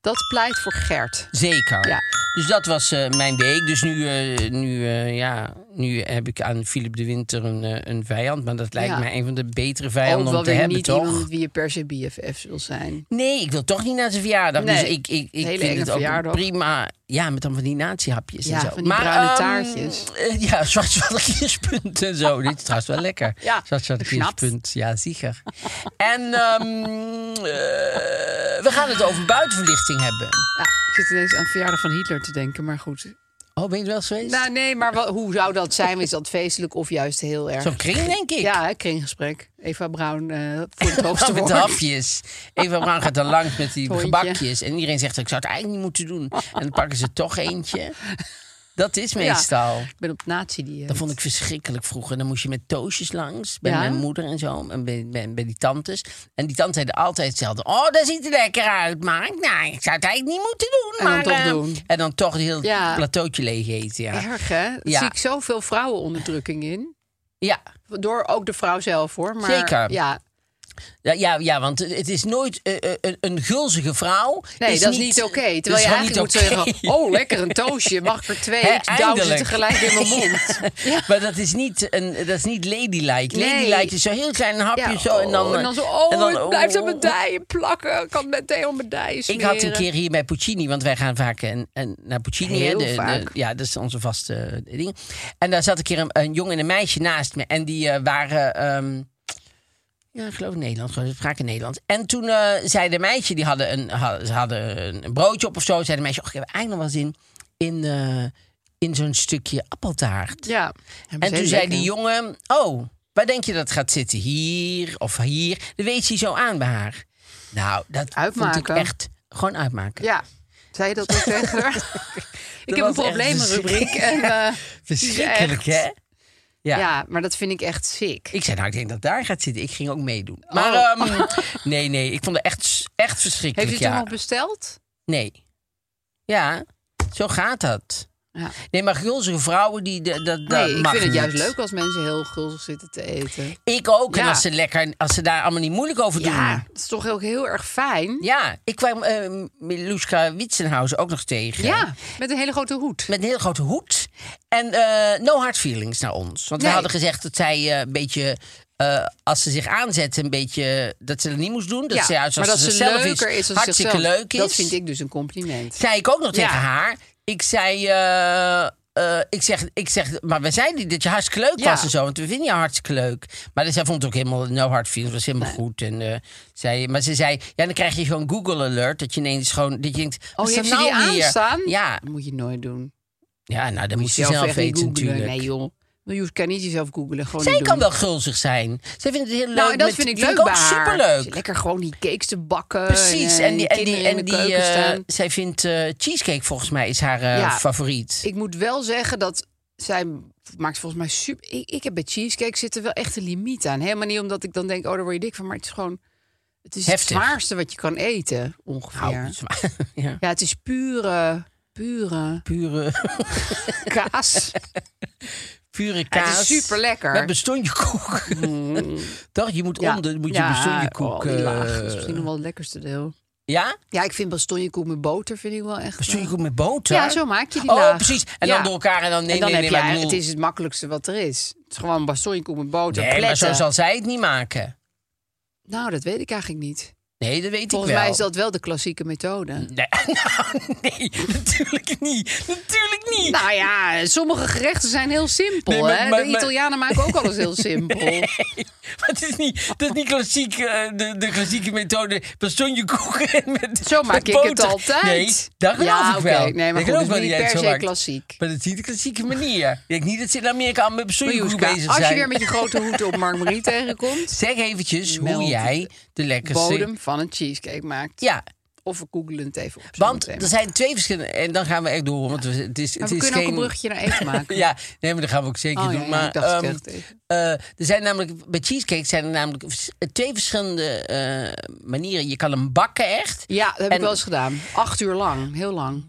Speaker 4: dat pleit voor Gert.
Speaker 3: Zeker.
Speaker 4: Ja.
Speaker 3: Dus dat was eh, mijn week. Dus nu, eh, nu, eh, ja, nu heb ik aan Philip de Winter een, eh, een vijand. Maar dat lijkt
Speaker 4: Ja.
Speaker 3: mij een van de betere
Speaker 4: Ook
Speaker 3: vijanden
Speaker 4: wel
Speaker 3: om te
Speaker 4: weer
Speaker 3: hebben,
Speaker 4: niet
Speaker 3: toch?
Speaker 4: iemand met wie je per se BFF's wil zijn.
Speaker 3: Nee, ik wil toch niet naar zijn verjaardag.
Speaker 4: Nee.
Speaker 3: Dus ik, ik, ik
Speaker 4: Hele
Speaker 3: vind
Speaker 4: enge
Speaker 3: het ook
Speaker 4: verjaardag.
Speaker 3: prima. Ja, met dan van die natiehapjes
Speaker 4: Ja,
Speaker 3: en zo.
Speaker 4: van die bruine
Speaker 3: ehm,
Speaker 4: taartjes.
Speaker 3: eh, ja, <laughs> zwartzwalkjespunt en zo. Dit is trouwens wel lekker.
Speaker 4: Ja,
Speaker 3: Zwartzwalkjespunt, ja, zeker. en ehm, eh, we gaan het over buitenverlichting hebben.
Speaker 4: Ja, ik zit ineens aan verjaardag van Hitler te denken, maar goed.
Speaker 3: Oh, ben je er wel eens geweest?
Speaker 4: Nou nee, maar wel- hoe zou dat zijn? Is dat feestelijk of juist heel erg?
Speaker 3: Zo'n kring, denk ik.
Speaker 4: Ja, hè, kringgesprek. Eva Braun eh, voor
Speaker 3: <laughs>
Speaker 4: het hoogste
Speaker 3: Gewoon met
Speaker 4: woord.
Speaker 3: de hapjes. Eva Braun gaat dan langs met die
Speaker 4: Hondje.
Speaker 3: gebakjes. En iedereen zegt, ik zou het eigenlijk niet moeten doen. En dan pakken ze toch eentje. Dat is meestal.
Speaker 4: Ik ben op nazi die. eh,
Speaker 3: Dat vond ik verschrikkelijk vroeger. Dan moest je met toosjes langs. Bij
Speaker 4: Ja?
Speaker 3: mijn moeder en zo. En bij, bij, bij die tantes. En die tantes zeiden altijd hetzelfde. Oh, dat ziet er lekker uit, Mark. Nou, ik zou het eigenlijk niet moeten doen.
Speaker 4: En
Speaker 3: maar,
Speaker 4: dan toch
Speaker 3: eh,
Speaker 4: doen.
Speaker 3: En dan toch heel het
Speaker 4: Ja.
Speaker 3: plateautje leeg eten, ja.
Speaker 4: erg hè? Daar
Speaker 3: Ja.
Speaker 4: Zie ik zoveel vrouwenonderdrukking in.
Speaker 3: Ja.
Speaker 4: Door ook de vrouw zelf hoor. Maar,
Speaker 3: Zeker.
Speaker 4: Ja.
Speaker 3: Ja, ja, ja, want het is nooit eh, eh, een, een gulzige vrouw.
Speaker 4: Nee, dat is niet oké.
Speaker 3: dat is
Speaker 4: Terwijl je
Speaker 3: gewoon
Speaker 4: eigenlijk moet
Speaker 3: oké.
Speaker 4: zeggen, oh lekker een toosje, mag ik er twee?
Speaker 3: Hè,
Speaker 4: Ik douw ze
Speaker 3: eindelijk.
Speaker 4: tegelijk in mijn
Speaker 3: <laughs>
Speaker 4: mond. Ja.
Speaker 3: Maar dat is niet, een, dat is niet ladylike.
Speaker 4: Nee.
Speaker 3: Ladylike is zo heel klein een hapje
Speaker 4: Ja,
Speaker 3: zo. En dan,
Speaker 4: oh, en dan zo, oh,
Speaker 3: en dan,
Speaker 4: het blijft aan
Speaker 3: oh.
Speaker 4: mijn dijen plakken. Ik kan meteen op mijn dijen
Speaker 3: Ik
Speaker 4: smeren.
Speaker 3: had een keer hier bij Puccini, want wij gaan vaak en, en naar Puccini. hè,
Speaker 4: Heel
Speaker 3: de- de-
Speaker 4: vaak.
Speaker 3: ja, dat is onze vaste eh, ding. En daar zat een keer een, een jongen en een meisje naast me. En die eh, waren... ehm, ja, ik geloof Nederlands. Gewoon, ze spraken Nederlands. En toen eh, zei de meisje, die hadden een, ha- ze hadden een- een broodje op of zo. Zei de meisje, "Och, ik heb eigenlijk nog wel zin in, eh, in zo'n stukje appeltaart.
Speaker 4: Ja.
Speaker 3: En toen zei die jongen, oh, waar denk je dat het gaat zitten? Hier of hier? Dat wees hij zo aan bij haar. Nou, dat uitmaken. vond
Speaker 4: Uitmaken.
Speaker 3: ik echt gewoon uitmaken.
Speaker 4: Ja. Zei je dat ook
Speaker 3: <laughs>
Speaker 4: tegen haar? ik heb een
Speaker 3: was echt
Speaker 4: problemenrubriek. En, eh,
Speaker 3: Verschrikkelijk,
Speaker 4: echt.
Speaker 3: hè?
Speaker 4: ja.
Speaker 3: Ja.
Speaker 4: maar dat vind ik echt sick.
Speaker 3: Ik zei, nou, ik denk dat het daar gaat zitten. Ik ging ook meedoen.
Speaker 4: Oh.
Speaker 3: Maar ehm, <laughs> nee, nee, ik vond het echt, echt
Speaker 4: Heeft
Speaker 3: verschrikkelijk.
Speaker 4: u het
Speaker 3: ja.
Speaker 4: toen nog besteld?
Speaker 3: Nee. Ja, zo gaat dat.
Speaker 4: Ja.
Speaker 3: Nee, maar gulzige vrouwen, die, dat, dat
Speaker 4: Nee, ik
Speaker 3: mag
Speaker 4: vind
Speaker 3: niet.
Speaker 4: het juist leuk als mensen heel gulzig zitten te eten.
Speaker 3: Ik ook. En
Speaker 4: Ja.
Speaker 3: als ze, lekker, als ze daar allemaal niet moeilijk over doen.
Speaker 4: Ja, dat is toch ook heel erg fijn.
Speaker 3: Ja, ik kwam eh Miluska Witsenhuizen ook nog tegen.
Speaker 4: Ja, met een hele grote hoed.
Speaker 3: Met een heel grote hoed. En eh, no hard feelings naar ons. Want
Speaker 4: Nee.
Speaker 3: we hadden gezegd dat zij eh, een beetje... eh, als ze zich aanzet, een beetje dat ze dat niet moest doen. Dat
Speaker 4: ja,
Speaker 3: ze juist als
Speaker 4: maar dat
Speaker 3: ze
Speaker 4: ze
Speaker 3: zelf
Speaker 4: leuker
Speaker 3: iets
Speaker 4: is als
Speaker 3: hartstikke
Speaker 4: zichzelf.
Speaker 3: leuk is.
Speaker 4: Dat vind ik dus een compliment.
Speaker 3: zei ik ook nog
Speaker 4: Ja.
Speaker 3: tegen haar. Ik zei, eh, eh, ik, zeg, ik zeg, maar we zeiden niet dat je hartstikke leuk
Speaker 4: Ja.
Speaker 3: was en zo. Want we vinden je hartstikke leuk. Maar zij vond het ook helemaal, no hard feelings, was helemaal goed. En, eh, zei, maar ze zei, ja, dan krijg je zo'n Google alert. Dat je ineens gewoon, dat je denkt,
Speaker 4: Oh,
Speaker 3: wat is
Speaker 4: heeft
Speaker 3: dat
Speaker 4: ze die
Speaker 3: nou weer?
Speaker 4: aanstaan?
Speaker 3: Ja,
Speaker 4: Dat moet je nooit doen.
Speaker 3: ja nou, dat moest je
Speaker 4: Zelf
Speaker 3: zelf,
Speaker 4: echt niet
Speaker 3: weten
Speaker 4: googlen.
Speaker 3: natuurlijk.
Speaker 4: Nee joh, Maar je kan niet jezelf googlen. Gewoon
Speaker 3: Zij
Speaker 4: niet
Speaker 3: kan
Speaker 4: doen.
Speaker 3: wel gulzig zijn. Zij vindt het heel leuk.
Speaker 4: Nou, en dat
Speaker 3: met-
Speaker 4: vind ik leuk bij
Speaker 3: ook
Speaker 4: haar.
Speaker 3: superleuk.
Speaker 4: Ze Lekker gewoon die cakes te bakken.
Speaker 3: Precies. En die, en die,
Speaker 4: kinderen in
Speaker 3: en
Speaker 4: de
Speaker 3: die
Speaker 4: keuken
Speaker 3: eh,
Speaker 4: staan.
Speaker 3: zij vindt eh, cheesecake volgens mij is haar eh,
Speaker 4: Ja.
Speaker 3: favoriet.
Speaker 4: Ik moet wel zeggen dat zij maakt volgens mij super... Ik, ik heb bij cheesecake zit er wel echt een limiet aan. Helemaal niet omdat ik dan denk, oh, daar word je dik van. Maar het is gewoon... Het is
Speaker 3: Heftig.
Speaker 4: het zwaarste wat je kan eten, ongeveer.
Speaker 3: Nou, zwaar. <laughs> ja.
Speaker 4: Ja, het is pure,
Speaker 3: <laughs>
Speaker 4: pure
Speaker 3: Pure,
Speaker 4: kaas.
Speaker 3: pure kaas.
Speaker 4: Ja, het is super
Speaker 3: Met
Speaker 4: lekker.
Speaker 3: bestondje koek. <laughs> Dacht, je moet onder, om de, moet je bestondje koek.
Speaker 4: oh, die laag
Speaker 3: eh,
Speaker 4: is misschien nog wel het lekkerste deel.
Speaker 3: Ja?
Speaker 4: Ja, ik vind bastonjekoek met boter vind ik wel echt...
Speaker 3: Bestondje
Speaker 4: eh,
Speaker 3: koek met boter?
Speaker 4: Ja, zo maak je die
Speaker 3: Oh,
Speaker 4: laag.
Speaker 3: precies. En
Speaker 4: Ja.
Speaker 3: dan door elkaar en dan... Nee,
Speaker 4: en dan
Speaker 3: nee, nee, maar
Speaker 4: heb je
Speaker 3: ik
Speaker 4: eigenlijk- het
Speaker 3: bedoel-
Speaker 4: is het makkelijkste wat er is. Het is gewoon bastonjekoek met boter,
Speaker 3: Nee, maar
Speaker 4: pletten.
Speaker 3: zo zal zij het niet maken.
Speaker 4: Nou, dat weet ik eigenlijk niet.
Speaker 3: Nee, dat weet
Speaker 4: Volgens
Speaker 3: ik wel.
Speaker 4: mij is dat wel de klassieke methode.
Speaker 3: Nee, <laughs> nou, nee, natuurlijk niet. Natuurlijk niet.
Speaker 4: Nou ja, sommige gerechten zijn heel simpel.
Speaker 3: Nee, maar-
Speaker 4: hè?
Speaker 3: maar-
Speaker 4: de
Speaker 3: maar-
Speaker 4: Italianen maken ook alles heel simpel.
Speaker 3: <laughs> Maar het is niet, dat is niet klassiek, eh, de, de klassieke methode. Bastonje koek en <laughs> met
Speaker 4: Zo maak
Speaker 3: met
Speaker 4: ik het
Speaker 3: boter.
Speaker 4: altijd.
Speaker 3: Nee, dat geloof
Speaker 4: ja,
Speaker 3: ik
Speaker 4: oké.
Speaker 3: wel.
Speaker 4: Nee, maar
Speaker 3: Ik
Speaker 4: goed,
Speaker 3: geloof
Speaker 4: dus
Speaker 3: wel
Speaker 4: niet
Speaker 3: dat jij
Speaker 4: per
Speaker 3: het zo
Speaker 4: se
Speaker 3: maakt.
Speaker 4: klassiek.
Speaker 3: Maar dat is niet de klassieke manier. Ik denk niet dat ze in Amerika allemaal met bastonje koek
Speaker 4: Miljuska,
Speaker 3: bezig zijn.
Speaker 4: als je weer met je
Speaker 3: <laughs>
Speaker 4: grote hoed op Mark Marie tegenkomt...
Speaker 3: Zeg eventjes
Speaker 4: Meld
Speaker 3: hoe jij de lekkerste...
Speaker 4: bodem van een cheesecake maakt.
Speaker 3: Ja,
Speaker 4: Of we googelen het even op.
Speaker 3: want
Speaker 4: zometeen.
Speaker 3: er zijn twee verschillende... En dan gaan we echt door, want we- het is,
Speaker 4: Maar
Speaker 3: het
Speaker 4: we
Speaker 3: is
Speaker 4: kunnen ook
Speaker 3: geen...
Speaker 4: een bruggetje naar eten
Speaker 3: <laughs>
Speaker 4: maken.
Speaker 3: Ja, nee, maar dat gaan we ook zeker
Speaker 4: Oh, ja,
Speaker 3: doen.
Speaker 4: ja,
Speaker 3: maar,
Speaker 4: ik dacht het
Speaker 3: ehm,
Speaker 4: echt even.
Speaker 3: eh, er zijn namelijk, bij cheesecake zijn er namelijk vers- twee verschillende eh, manieren. Je kan hem bakken echt.
Speaker 4: Ja, dat heb ik
Speaker 3: en-
Speaker 4: wel eens gedaan. Acht uur lang, heel lang.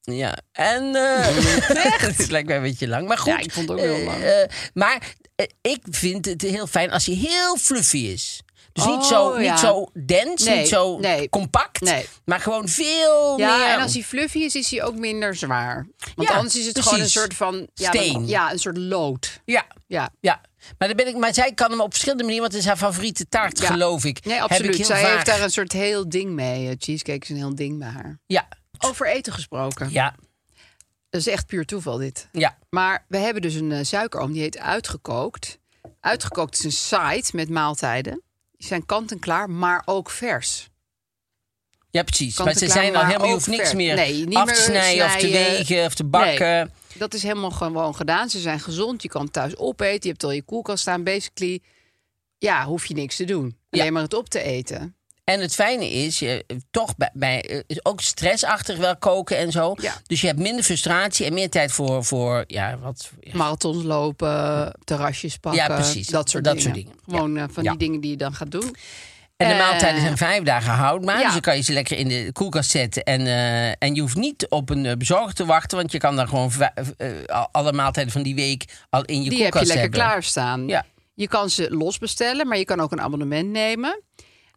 Speaker 3: Ja, en...
Speaker 4: <laughs>
Speaker 3: eh echt? Het lijkt mij een beetje lang, maar goed.
Speaker 4: Ja, ik vond het ook heel
Speaker 3: Eh,
Speaker 4: lang.
Speaker 3: eh, maar eh, ik vind het heel fijn als hij heel fluffy is. Dus niet, zo,
Speaker 4: Oh, ja.
Speaker 3: niet zo dense,
Speaker 4: Nee,
Speaker 3: niet zo
Speaker 4: nee.
Speaker 3: compact,
Speaker 4: Nee.
Speaker 3: maar gewoon veel
Speaker 4: Ja,
Speaker 3: meer...
Speaker 4: en als hij fluffy is, is hij ook minder zwaar. Want
Speaker 3: oh. Ja,
Speaker 4: anders is het gewoon een
Speaker 3: precies.
Speaker 4: soort van... Ja,
Speaker 3: Steen.
Speaker 4: dan- Ja, een soort lood.
Speaker 3: Ja,
Speaker 4: Ja.
Speaker 3: ja. Maar, daar ben ik, maar zij kan hem op verschillende manieren, want het is haar favoriete taart,
Speaker 4: Ja.
Speaker 3: geloof ik.
Speaker 4: Nee,
Speaker 3: Heb ik
Speaker 4: absoluut.
Speaker 3: heel
Speaker 4: Zij
Speaker 3: vaag.
Speaker 4: heeft daar een soort heel ding mee. Eh, Cheesecake is een heel ding bij haar.
Speaker 3: Ja,
Speaker 4: Over eten gesproken.
Speaker 3: ja,
Speaker 4: Dat is echt puur toeval dit.
Speaker 3: ja.
Speaker 4: Maar we hebben dus een eh, suikeroom, die heet Uitgekookt. Uitgekookt is een site met maaltijden. Die zijn kant-en-klaar, maar ook vers.
Speaker 3: Ja, precies. Maar ze
Speaker 4: Kant-en-klaar,
Speaker 3: zijn al
Speaker 4: maar
Speaker 3: helemaal, je
Speaker 4: ook
Speaker 3: hoeft niks
Speaker 4: ver.
Speaker 3: meer
Speaker 4: Nee, niet
Speaker 3: af te
Speaker 4: meer
Speaker 3: snijden, of te
Speaker 4: snijden.
Speaker 3: wegen of te bakken.
Speaker 4: Dat is helemaal gewoon gedaan. Ze zijn gezond. Je kan thuis opeten. Je hebt al je koelkast staan. Basically, ja, hoef je niks te doen.
Speaker 3: Ja.
Speaker 4: Alleen maar het op te eten.
Speaker 3: En het fijne is, je, toch bij, bij, eh, is ook stressachtig wel koken en zo.
Speaker 4: Ja.
Speaker 3: Dus je hebt minder frustratie en meer tijd voor, voor ja, wat, ja,
Speaker 4: Marathons lopen, terrasjes pakken.
Speaker 3: Ja, precies.
Speaker 4: Dat soort
Speaker 3: Dat
Speaker 4: dingen.
Speaker 3: soort dingen.
Speaker 4: Gewoon eh, van
Speaker 3: Ja.
Speaker 4: die dingen die je dan gaat doen.
Speaker 3: En de
Speaker 4: Eh,
Speaker 3: maaltijden zijn vijf dagen houdbaar.
Speaker 4: ja.
Speaker 3: Dus dan kan je ze lekker in de koelkast zetten. En, eh, en je hoeft niet op een eh, bezorger te wachten. Want je kan dan gewoon vij- eh, al- alle maaltijden van die week al in je
Speaker 4: die heb je
Speaker 3: koelkast
Speaker 4: lekker
Speaker 3: hebben.
Speaker 4: klaarstaan.
Speaker 3: Ja.
Speaker 4: Je kan ze los bestellen, maar je kan ook een abonnement nemen.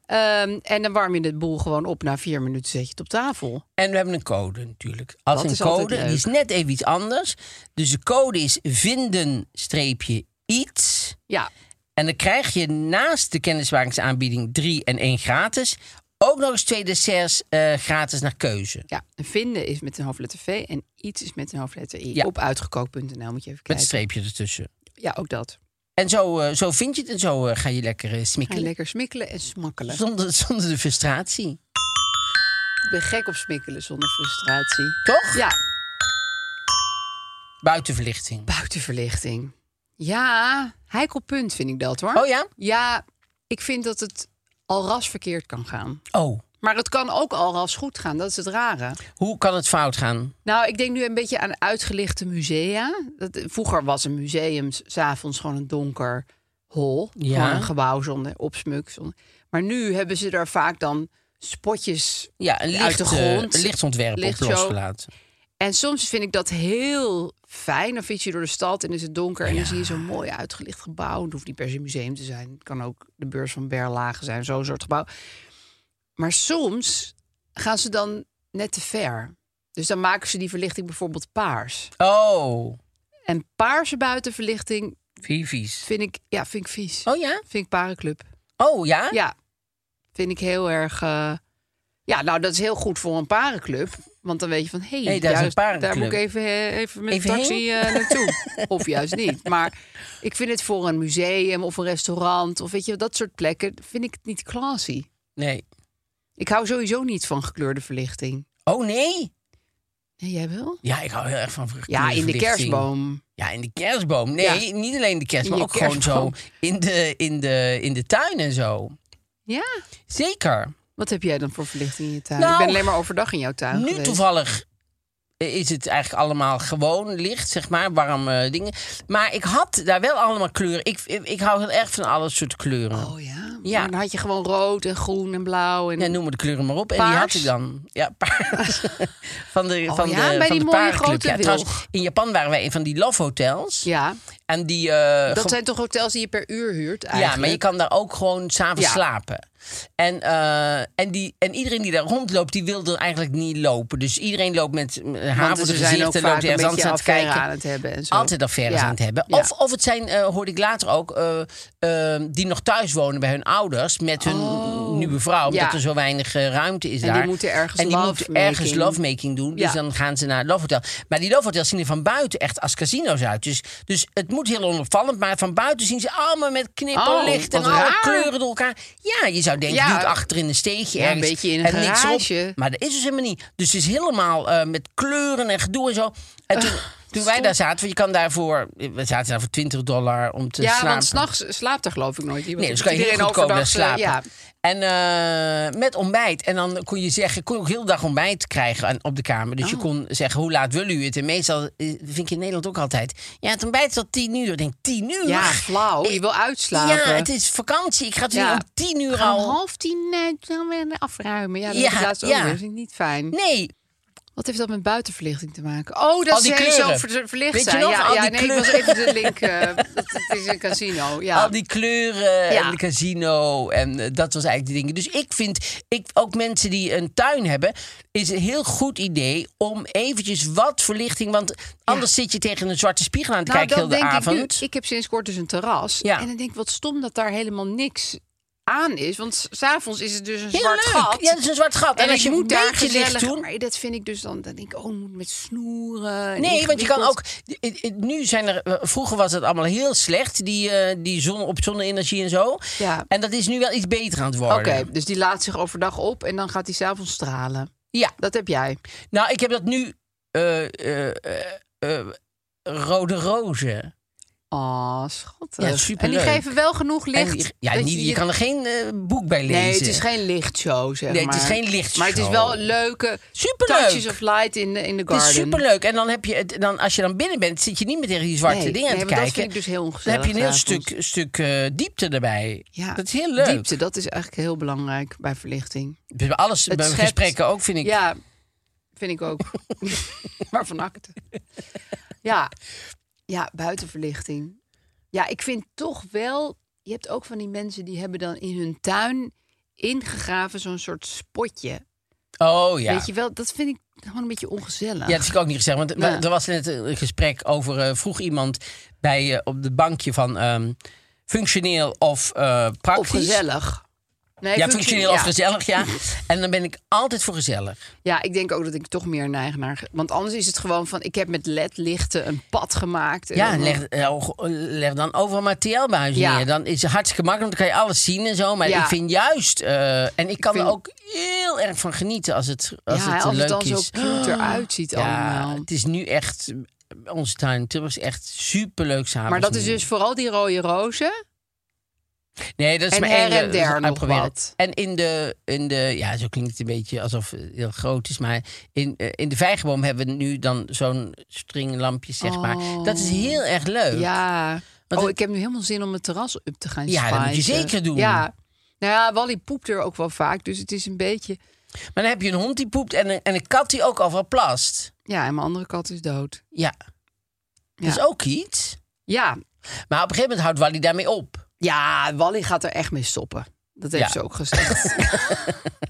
Speaker 4: Ehm, en dan warm je de boel gewoon op. Na vier minuten zet je het op tafel.
Speaker 3: En we hebben een code natuurlijk. Als
Speaker 4: Dat
Speaker 3: een
Speaker 4: is altijd
Speaker 3: code, die
Speaker 4: leuk.
Speaker 3: is net even iets anders. Dus de code is vinden-iets.
Speaker 4: Ja,
Speaker 3: En dan krijg je naast de kennismakingsaanbieding 3 en 1 gratis... ook nog eens twee desserts eh, gratis naar keuze.
Speaker 4: ja. En vinden is met een hoofdletter V en iets is met een hoofdletter I.
Speaker 3: Ja.
Speaker 4: Op uitgekookt.nl moet je even
Speaker 3: Met een
Speaker 4: kijken.
Speaker 3: streepje ertussen.
Speaker 4: Ja, ook dat.
Speaker 3: En zo, eh, zo vind je het en zo eh, ga je lekker eh,
Speaker 4: Ga je
Speaker 3: smikkelen.
Speaker 4: lekker smikkelen en smakkelen.
Speaker 3: Zonder, zonder de frustratie.
Speaker 4: Ik ben gek op smikkelen zonder frustratie.
Speaker 3: Toch?
Speaker 4: Ja,
Speaker 3: Buitenverlichting.
Speaker 4: buitenverlichting. Ja, heikel punt vind ik dat hoor.
Speaker 3: Oh ja?
Speaker 4: Ja, ik vind dat het al ras verkeerd kan gaan.
Speaker 3: Oh,
Speaker 4: Maar het kan ook al ras goed gaan, dat is het rare.
Speaker 3: hoe kan het fout gaan?
Speaker 4: Nou, ik denk nu een beetje aan uitgelichte musea. Dat, vroeger was een museum s- s'avonds gewoon een donker hol.
Speaker 3: Ja.
Speaker 4: Gewoon een gebouw zonder opsmuk. Zonder. Maar nu hebben ze daar vaak dan spotjes
Speaker 3: Ja, een licht,
Speaker 4: uit de grond.
Speaker 3: eh, lichtontwerp op
Speaker 4: Lichtshow.
Speaker 3: losgelaten.
Speaker 4: En soms vind ik dat heel fijn. Dan fiets je door de stad en is het donker. En dan zie je zo'n mooi uitgelicht gebouw. Het hoeft niet per se een museum te zijn. Het kan ook de beurs van Berlage zijn, zo'n soort gebouw. Maar soms gaan ze dan net te ver. Dus dan maken ze die verlichting bijvoorbeeld paars.
Speaker 3: Oh,
Speaker 4: En paarse buitenverlichting
Speaker 3: vivies.
Speaker 4: vind ik, ja, vind ik vies.
Speaker 3: Oh ja?
Speaker 4: Vind ik parenclub.
Speaker 3: Oh ja?
Speaker 4: Ja, vind ik heel erg... eh, ja, nou, dat is heel goed voor een parenclub. Want dan weet je van, hé, hey,
Speaker 3: Hey, daar is een
Speaker 4: juist daar moet
Speaker 3: parenclub.
Speaker 4: ik even, eh, even met
Speaker 3: Even
Speaker 4: de taxi eh,
Speaker 3: <laughs>
Speaker 4: naartoe. of juist niet. Maar ik vind het voor een museum of een restaurant... of weet je, dat soort plekken, vind ik het niet classy.
Speaker 3: Nee.
Speaker 4: Ik hou sowieso niet van gekleurde verlichting.
Speaker 3: Oh nee?
Speaker 4: Nee, jij wel?
Speaker 3: Ja, ik hou heel erg van
Speaker 4: Ja, in de
Speaker 3: verlichting.
Speaker 4: kerstboom.
Speaker 3: Ja, in de kerstboom. Nee, niet alleen de kerstboom,
Speaker 4: In
Speaker 3: ook
Speaker 4: je
Speaker 3: gewoon
Speaker 4: kerstboom.
Speaker 3: zo in de, in, de, in de tuin en zo.
Speaker 4: Ja.
Speaker 3: Zeker.
Speaker 4: Wat heb jij dan voor verlichting in je tuin?
Speaker 3: Nou,
Speaker 4: ik ben alleen maar overdag in jouw tuin
Speaker 3: Nu
Speaker 4: geweest.
Speaker 3: toevallig eh, is het eigenlijk allemaal gewoon licht, zeg maar, warme eh, dingen. Maar ik had daar wel allemaal kleuren. Ik, ik, ik hou heel erg van alle soort kleuren.
Speaker 4: Oh ja?
Speaker 3: Ja.
Speaker 4: ja. Dan had je gewoon rood en groen en blauw. En...
Speaker 3: Ja, noem maar de kleuren maar op. En die had
Speaker 4: Paars?
Speaker 3: ik dan. Ja,
Speaker 4: <laughs>
Speaker 3: paars. van de,
Speaker 4: Oh
Speaker 3: van
Speaker 4: ja,
Speaker 3: de,
Speaker 4: bij
Speaker 3: van
Speaker 4: die
Speaker 3: de
Speaker 4: mooie
Speaker 3: parenclub.
Speaker 4: grote
Speaker 3: ja,
Speaker 4: wilg.
Speaker 3: trouwens, in Japan waren wij in van die love hotels.
Speaker 4: Ja,
Speaker 3: En die, eh,
Speaker 4: dat
Speaker 3: ge-
Speaker 4: zijn toch hotels die je per uur huurt eigenlijk?
Speaker 3: ja, maar je kan daar ook gewoon s'avonds
Speaker 4: Ja.
Speaker 3: slapen. En, eh, en, die, en iedereen die daar rondloopt, die wil er eigenlijk niet lopen. Dus iedereen loopt met eh, haar
Speaker 4: Want
Speaker 3: voor
Speaker 4: ze
Speaker 3: de
Speaker 4: zijn
Speaker 3: gezicht
Speaker 4: ook
Speaker 3: en
Speaker 4: vaak
Speaker 3: loopt
Speaker 4: een
Speaker 3: ergens anders aan
Speaker 4: beetje
Speaker 3: het
Speaker 4: affaire
Speaker 3: kijken.
Speaker 4: aan het hebben en zo.
Speaker 3: Altijd affaires
Speaker 4: Ja.
Speaker 3: aan het hebben.
Speaker 4: Ja.
Speaker 3: Of, of het zijn, eh, hoorde ik later ook, eh, eh, die nog thuis wonen bij hun ouders met hun nieuwe vrouw. Omdat
Speaker 4: Oh. Ja.
Speaker 3: er zo weinig eh, ruimte is
Speaker 4: En die
Speaker 3: daar.
Speaker 4: moeten ergens
Speaker 3: En die
Speaker 4: lovemaking-
Speaker 3: moeten ergens lovemaking doen. Dus
Speaker 4: Ja.
Speaker 3: dan gaan ze naar Love Hotel. Maar die Love Hotels zien er van buiten echt als casino's uit. Dus, dus het moet heel onopvallend. Maar van buiten zien ze allemaal met knipperlicht
Speaker 4: Oh,
Speaker 3: en
Speaker 4: wat
Speaker 3: alle
Speaker 4: raar.
Speaker 3: kleuren door elkaar. Ja, je zou denken,
Speaker 4: Ja.
Speaker 3: doe het achter in een steegje
Speaker 4: Ja, een
Speaker 3: ergens.
Speaker 4: beetje in een
Speaker 3: en niks op.
Speaker 4: garage.
Speaker 3: Maar dat is dus helemaal niet. Dus het is helemaal eh, met kleuren en gedoe en zo. En toen, toen wij daar zaten, want je kan daarvoor... eh, We zaten daar voor 20 dollar om te
Speaker 4: Ja,
Speaker 3: slapen.
Speaker 4: want s'nachts slaapt er geloof ik nooit iemand.
Speaker 3: Nee, dus kan je heel
Speaker 4: Iedereen
Speaker 3: goed komen en
Speaker 4: overdag,
Speaker 3: slapen.
Speaker 4: eh, Ja.
Speaker 3: En eh, met ontbijt. En dan kon je zeggen, kon je ook heel de dag ontbijt krijgen aan- op de kamer. Dus je
Speaker 4: Oh.
Speaker 3: kon zeggen, hoe laat wil u het? En meestal eh, vind ik in Nederland ook altijd... Ja, het ontbijt is tot tien uur. Ik denk, tien uur?
Speaker 4: ja, flauw. Je wil uitslapen.
Speaker 3: Ja, het is vakantie. Ik ga het
Speaker 4: Ja.
Speaker 3: om tien uur
Speaker 4: Gewoon
Speaker 3: al...
Speaker 4: half tien eh, dan weer afruimen. Ja, dat
Speaker 3: Ja,
Speaker 4: ja, ik laatst ook
Speaker 3: ja.
Speaker 4: weer. Dat vind ik niet fijn.
Speaker 3: Nee,
Speaker 4: Wat heeft dat met buitenverlichting te maken? Oh, dat
Speaker 3: Al die
Speaker 4: ze heel
Speaker 3: kleuren.
Speaker 4: zo ver- verlicht
Speaker 3: Weet je
Speaker 4: zijn.
Speaker 3: nog?
Speaker 4: ja,
Speaker 3: Al
Speaker 4: ja
Speaker 3: die
Speaker 4: nee, ik was
Speaker 3: kleuren.
Speaker 4: even de link. eh, <laughs> het, het is een casino. Ja.
Speaker 3: Al die kleuren
Speaker 4: Ah. Ja.
Speaker 3: en de casino. En eh, dat was eigenlijk de dingen. Dus ik vind, ik, ook mensen die een tuin hebben, is een heel goed idee om eventjes wat verlichting. Want anders zit je tegen een zwarte spiegel aan te
Speaker 4: nou,
Speaker 3: kijken
Speaker 4: dat
Speaker 3: heel de
Speaker 4: denk
Speaker 3: avond.
Speaker 4: ik nu. Ik heb sinds kort dus een terras.
Speaker 3: Ja.
Speaker 4: En dan denk ik, wat stom dat daar helemaal niks aan is. Want s- s'avonds is het dus een
Speaker 3: Heel
Speaker 4: zwart
Speaker 3: leuk.
Speaker 4: gat.
Speaker 3: Ja, dat is een zwart gat. En,
Speaker 4: ik
Speaker 3: als je een
Speaker 4: moet daar
Speaker 3: beetje licht
Speaker 4: gezellig...
Speaker 3: doen.
Speaker 4: Maar dat vind ik dus dan... Dan denk ik, oh, moet met snoeren. en
Speaker 3: Nee, want je kan
Speaker 4: ingewikkeld.
Speaker 3: ook. Nu zijn er. eh, Vroeger was het allemaal heel slecht. Die, eh, die zon op zonne-energie en zo.
Speaker 4: Ja.
Speaker 3: En dat is nu wel iets beter aan het
Speaker 4: Oké,
Speaker 3: worden.
Speaker 4: dus die laat zich overdag op en dan gaat hij s'avonds stralen.
Speaker 3: Ja.
Speaker 4: Dat heb jij.
Speaker 3: Nou, ik heb dat nu. eh, eh, eh, eh, rode rozen.
Speaker 4: Oh, schattig.
Speaker 3: Ja, superleuk.
Speaker 4: En die geven wel genoeg licht.
Speaker 3: En die- ja,
Speaker 4: dat
Speaker 3: niet, je, kan er geen eh, boek bij lezen.
Speaker 4: Nee, het is geen lichtshow, zeg
Speaker 3: Nee,
Speaker 4: maar.
Speaker 3: het is geen lichtshow.
Speaker 4: Maar het is wel een leuke
Speaker 3: Superleuk.
Speaker 4: touches of light in de, in de
Speaker 3: Het
Speaker 4: garden.
Speaker 3: is superleuk. En dan heb je het, dan, als je dan binnen bent, zit je niet meer tegen die zwarte
Speaker 4: Nee,
Speaker 3: dingen aan
Speaker 4: nee,
Speaker 3: te
Speaker 4: want
Speaker 3: kijken.
Speaker 4: dat vind ik dus heel
Speaker 3: dan
Speaker 4: ongezellig.
Speaker 3: heb je een heel
Speaker 4: s'avonds.
Speaker 3: stuk, stuk eh, diepte erbij.
Speaker 4: Ja,
Speaker 3: Dat is heel leuk.
Speaker 4: Diepte, dat is eigenlijk heel belangrijk bij verlichting.
Speaker 3: Bij alles, bij
Speaker 4: schept-
Speaker 3: gesprekken ook, vind ik.
Speaker 4: Ja, vind ik ook. <laughs> maar van akte. Ja. ja, buitenverlichting. Ja, ik vind toch wel... Je hebt ook van die mensen die hebben dan in hun tuin ingegraven zo'n soort spotje.
Speaker 3: Oh ja.
Speaker 4: Weet je wel, dat vind ik gewoon een beetje ongezellig.
Speaker 3: Ja, dat is ik ook niet gezegd. Want we-
Speaker 4: Nee.
Speaker 3: er was net een gesprek over. eh, vroeg iemand bij, eh, op de bankje van ehm, functioneel of eh
Speaker 4: Of
Speaker 3: praktisch.
Speaker 4: gezellig.
Speaker 3: Ja,
Speaker 4: Nee, functie-
Speaker 3: functioneel of
Speaker 4: ja.
Speaker 3: gezellig, ja. En dan ben ik altijd voor gezellig.
Speaker 4: Ja, ik denk ook dat ik toch meer neig naar... Want anders is het gewoon van, ik heb met ledlichten een pad gemaakt. en
Speaker 3: Ja,
Speaker 4: dan-
Speaker 3: leg, eh, oh, leg dan overal maar TL-buizen
Speaker 4: Ja.
Speaker 3: neer. Dan is het hartstikke makkelijk, dan kan je alles zien en zo. Maar
Speaker 4: Ja.
Speaker 3: ik vind juist, eh, en ik kan
Speaker 4: vind-
Speaker 3: er ook heel erg van genieten als het, als
Speaker 4: ja,
Speaker 3: het eh,
Speaker 4: als het
Speaker 3: leuk
Speaker 4: dan
Speaker 3: is.
Speaker 4: zo cute eruit ziet
Speaker 3: ja,
Speaker 4: allemaal.
Speaker 3: het is nu echt, onze tuin in Tilburg is echt superleuk samen.
Speaker 4: dus Maar dat is dus vooral die rode rozen.
Speaker 3: Nee, dat is
Speaker 4: En
Speaker 3: maar
Speaker 4: her
Speaker 3: één, eh,
Speaker 4: en
Speaker 3: dat is
Speaker 4: der nog
Speaker 3: uitgeprobeerd.
Speaker 4: wat.
Speaker 3: En in de, in de, ja, zo klinkt het een beetje alsof het heel groot is, maar in, eh, in de vijgenboom hebben we nu dan zo'n stringlampje, zeg maar. Dat is heel erg leuk.
Speaker 4: Oh. Ja.
Speaker 3: Want
Speaker 4: oh,
Speaker 3: het-
Speaker 4: ik heb nu helemaal zin om het terras up te gaan
Speaker 3: Ja, dat moet je
Speaker 4: spuiten.
Speaker 3: zeker doen.
Speaker 4: Ja. Nou ja, Wally poept er ook wel vaak, dus het is een beetje...
Speaker 3: Maar dan heb je een hond die poept en een, en een kat die ook overal plast.
Speaker 4: Ja, en mijn andere kat is dood.
Speaker 3: Ja. Dat is
Speaker 4: Ja.
Speaker 3: ook iets.
Speaker 4: Ja,
Speaker 3: Maar op een gegeven moment houdt Wally daarmee op.
Speaker 4: ja Wally gaat er echt mee stoppen. Dat heeft
Speaker 3: Ja.
Speaker 4: ze ook
Speaker 3: <laughs>
Speaker 4: gezegd.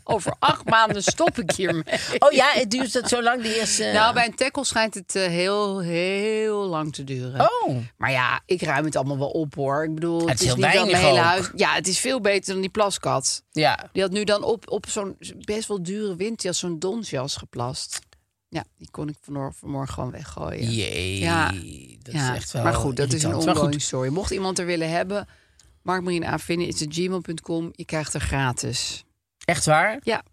Speaker 4: Over acht maanden stop ik hiermee.
Speaker 3: <laughs> Oh ja, het duurt dat zo lang, de eerste...
Speaker 4: Nou, bij een tackle schijnt het eh, heel, heel lang te duren.
Speaker 3: Oh,
Speaker 4: Maar ja, ik ruim het allemaal wel op hoor. Ik bedoel, het,
Speaker 3: is heel
Speaker 4: niet dat mijn
Speaker 3: weinig
Speaker 4: hele
Speaker 3: ook.
Speaker 4: huis. Ja, het is veel beter dan die plaskat.
Speaker 3: ja.
Speaker 4: Die had nu dan op, op zo'n best wel dure windjas, zo'n donsjas geplast. Ja, die kon ik vanor- vanmorgen gewoon weggooien.
Speaker 3: Jee,
Speaker 4: Ja.
Speaker 3: dat
Speaker 4: Ja,
Speaker 3: is echt wel
Speaker 4: maar goed, dat is een
Speaker 3: irritant. Maar goed,
Speaker 4: ongoing story. Mocht iemand er willen hebben, Mark Marien aanvinden is het gmail.com. Je krijgt er gratis.
Speaker 3: Echt waar?
Speaker 4: Ja.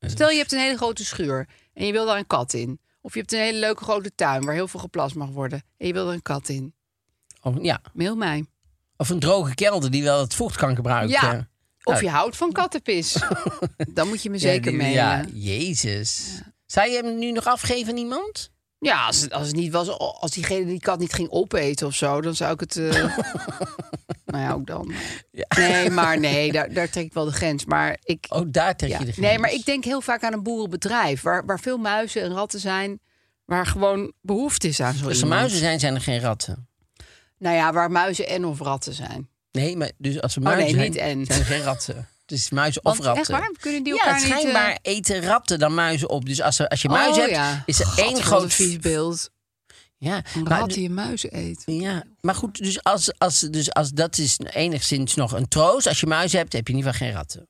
Speaker 4: Stel je hebt een hele grote schuur en je wil daar een kat in. Of je hebt een hele leuke grote tuin waar heel veel geplast mag worden. En je wil er een kat in.
Speaker 3: Of, Oh, ja.
Speaker 4: Mail mij.
Speaker 3: Of een droge kelder die wel het vocht kan gebruiken.
Speaker 4: Ja. Of
Speaker 3: Nou.
Speaker 4: je houdt van
Speaker 3: <laughs>
Speaker 4: kattenpis. Dan moet je me zeker
Speaker 3: Ja, die-
Speaker 4: mee.
Speaker 3: Ja,
Speaker 4: Ja,
Speaker 3: jezus. Zou je hem nu nog afgeven aan iemand?
Speaker 4: als, het, als het niet was, als diegene die kat niet ging opeten of zo, dan zou ik
Speaker 3: <laughs>
Speaker 4: het. eh, nou ja, ook dan. Nee, maar nee, daar, daar trek ik wel de grens. Maar ik,
Speaker 3: Oh, daar trek
Speaker 4: Ja.
Speaker 3: je de grens.
Speaker 4: Nee, maar ik denk heel vaak aan een boerenbedrijf... waar, waar veel muizen en ratten zijn... waar gewoon behoefte is aan zo'n
Speaker 3: Als er
Speaker 4: iemand.
Speaker 3: muizen zijn, zijn er geen ratten.
Speaker 4: Nou ja, waar muizen en of ratten zijn.
Speaker 3: Nee, maar dus als er
Speaker 4: Oh, nee,
Speaker 3: muizen
Speaker 4: niet
Speaker 3: zijn,
Speaker 4: en.
Speaker 3: zijn er geen ratten. Dus muizen
Speaker 4: Want
Speaker 3: of ratten.
Speaker 4: echt waar? Kunnen die
Speaker 3: ja,
Speaker 4: elkaar niet, eh,
Speaker 3: schijnbaar eten ratten dan muizen op. Dus als, er, als je muizen
Speaker 4: Oh,
Speaker 3: hebt,
Speaker 4: ja.
Speaker 3: is er
Speaker 4: God, wat
Speaker 3: één groot...
Speaker 4: een vies beeld.
Speaker 3: Ja,
Speaker 4: Een
Speaker 3: maar,
Speaker 4: rat die een muis eet.
Speaker 3: ja, maar goed, dus, als, als, dus als, dat is enigszins nog een troost. Als je muizen hebt, heb je in ieder geval geen ratten.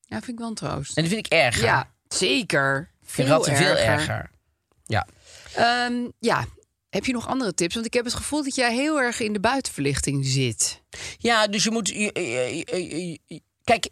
Speaker 4: Ja, vind ik wel een troost.
Speaker 3: En dat vind ik erger.
Speaker 4: Ja, zeker.
Speaker 3: ik vind
Speaker 4: Veel
Speaker 3: ratten veel erger. Ja.
Speaker 4: Ehm, ja, heb je nog andere tips? Want ik heb het gevoel dat jij heel erg in de buitenverlichting zit.
Speaker 3: Ja, dus je moet. je- je- je- je- je- Kijk,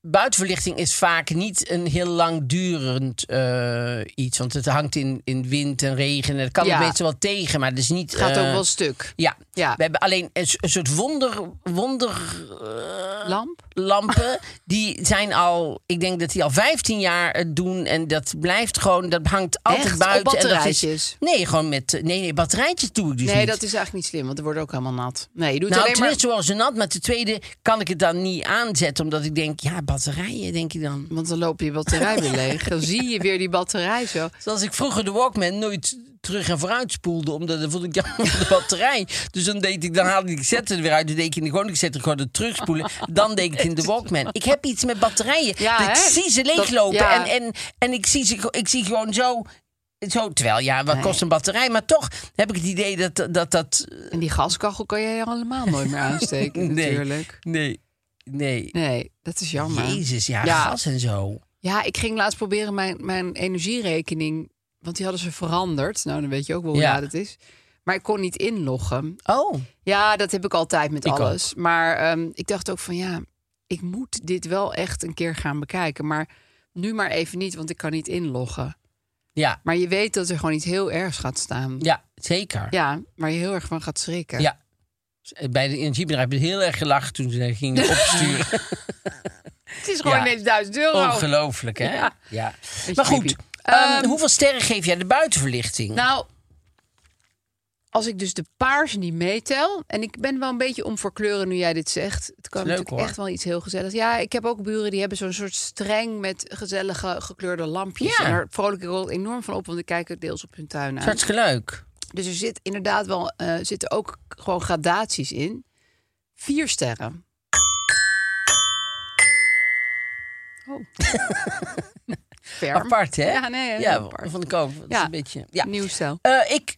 Speaker 3: buitenverlichting is vaak niet een heel langdurend eh, iets. Want het hangt in, in wind en regen. En dat kan
Speaker 4: Ja.
Speaker 3: het meestal wel tegen, maar het is niet.
Speaker 4: Het gaat ook
Speaker 3: eh,
Speaker 4: wel stuk.
Speaker 3: Ja.
Speaker 4: Ja.
Speaker 3: we hebben alleen een, s- een soort wonder,
Speaker 4: <laughs>
Speaker 3: wonderlampen.
Speaker 4: Lamp?
Speaker 3: die zijn al, ik denk dat die al 15 jaar het doen. En dat blijft gewoon, dat hangt altijd
Speaker 4: Echt? Op
Speaker 3: buiten. En dat
Speaker 4: batterijtjes?
Speaker 3: is, nee, gewoon met. eh, Nee, nee, batterijtjes doe ik dus
Speaker 4: Nee,
Speaker 3: niet.
Speaker 4: dat is eigenlijk niet slim, want er wordt ook helemaal nat. Nee, je doet
Speaker 3: Nou,
Speaker 4: alleen
Speaker 3: ten
Speaker 4: maar...
Speaker 3: eerste was het nat, maar ten tweede kan ik het dan niet aanzetten. Omdat ik denk, ja, batterijen, denk ik dan.
Speaker 4: Want dan loop je batterij weer leeg. Dan zie je weer die batterij zo.
Speaker 3: Zoals ik vroeger de Walkman nooit terug en vooruit spoelde. Omdat dan voelde ik <laughs> jammer van de batterij. Dus dan deed ik, dan haalde ik, ik zette er weer uit. Dan deed ik in de gewoon, ik zette er gewoon het terugspoelen. Dan deed ik het in de Walkman. Ik heb iets met batterijen.
Speaker 4: Ja,
Speaker 3: Dat ik
Speaker 4: hè?
Speaker 3: zie ze
Speaker 4: Dat-
Speaker 3: leeglopen.
Speaker 4: ja.
Speaker 3: En, en, en ik, zie ze, ik zie gewoon zo... Zo, terwijl, ja, wat kost een batterij? Maar toch heb ik het idee dat dat... dat
Speaker 4: En die gaskachel kan je allemaal nooit meer aansteken
Speaker 3: <laughs> nee,
Speaker 4: natuurlijk.
Speaker 3: Nee, nee.
Speaker 4: Nee, dat is jammer.
Speaker 3: Jezus, ja,
Speaker 4: Ja.
Speaker 3: gas en zo.
Speaker 4: Ja, ik ging laatst proberen mijn, mijn energierekening... Want die hadden ze veranderd. Nou, dan weet je ook wel hoe
Speaker 3: Ja.
Speaker 4: laat het is. Maar ik kon niet inloggen.
Speaker 3: Oh.
Speaker 4: Ja, dat heb ik altijd met
Speaker 3: Ik ook.
Speaker 4: alles. Maar ehm, ik dacht ook van ja, ik moet dit wel echt een keer gaan bekijken. Maar nu maar even niet, want ik kan niet inloggen.
Speaker 3: Ja,
Speaker 4: Maar je weet dat er gewoon iets heel ergs gaat staan.
Speaker 3: ja zeker. Ja.
Speaker 4: Ja, waar je heel erg van gaat schrikken.
Speaker 3: Bij de energiebedrijf heb ik heel erg gelachen toen ze gingen
Speaker 4: <laughs>
Speaker 3: opsturen.
Speaker 4: Het is gewoon
Speaker 3: Ja.
Speaker 4: ineens 1000 euro.
Speaker 3: Ongelooflijk, hè? Ja.
Speaker 4: Oh. Ja.
Speaker 3: Maar goed,
Speaker 4: creepy.
Speaker 3: ehm,
Speaker 4: Ehm,
Speaker 3: hoeveel sterren geef jij de buitenverlichting?
Speaker 4: Nou, als ik dus de paarse niet meetel... en ik ben wel een beetje om voor kleuren nu jij dit zegt. Het kan
Speaker 3: Leuk,
Speaker 4: natuurlijk
Speaker 3: hoor.
Speaker 4: echt wel iets heel gezelligs. Ja, ik heb ook buren die hebben zo'n soort streng... met gezellige gekleurde lampjes.
Speaker 3: Ja.
Speaker 4: En daar vrolijk ik ook enorm van op... want ik kijk ook deels op hun tuin
Speaker 3: Dat is
Speaker 4: uit.
Speaker 3: hartstikke leuk.
Speaker 4: Dus er zit inderdaad wel, eh, zitten ook gewoon gradaties in. Vier sterren. Oh. <laughs> Ferm.
Speaker 3: Apart, hè?
Speaker 4: Ja, nee, heel
Speaker 3: ja,
Speaker 4: apart.
Speaker 3: vond ik ook. Dat is
Speaker 4: Ja.
Speaker 3: een beetje... Ja.
Speaker 4: Nieuw stijl.
Speaker 3: Eh, ik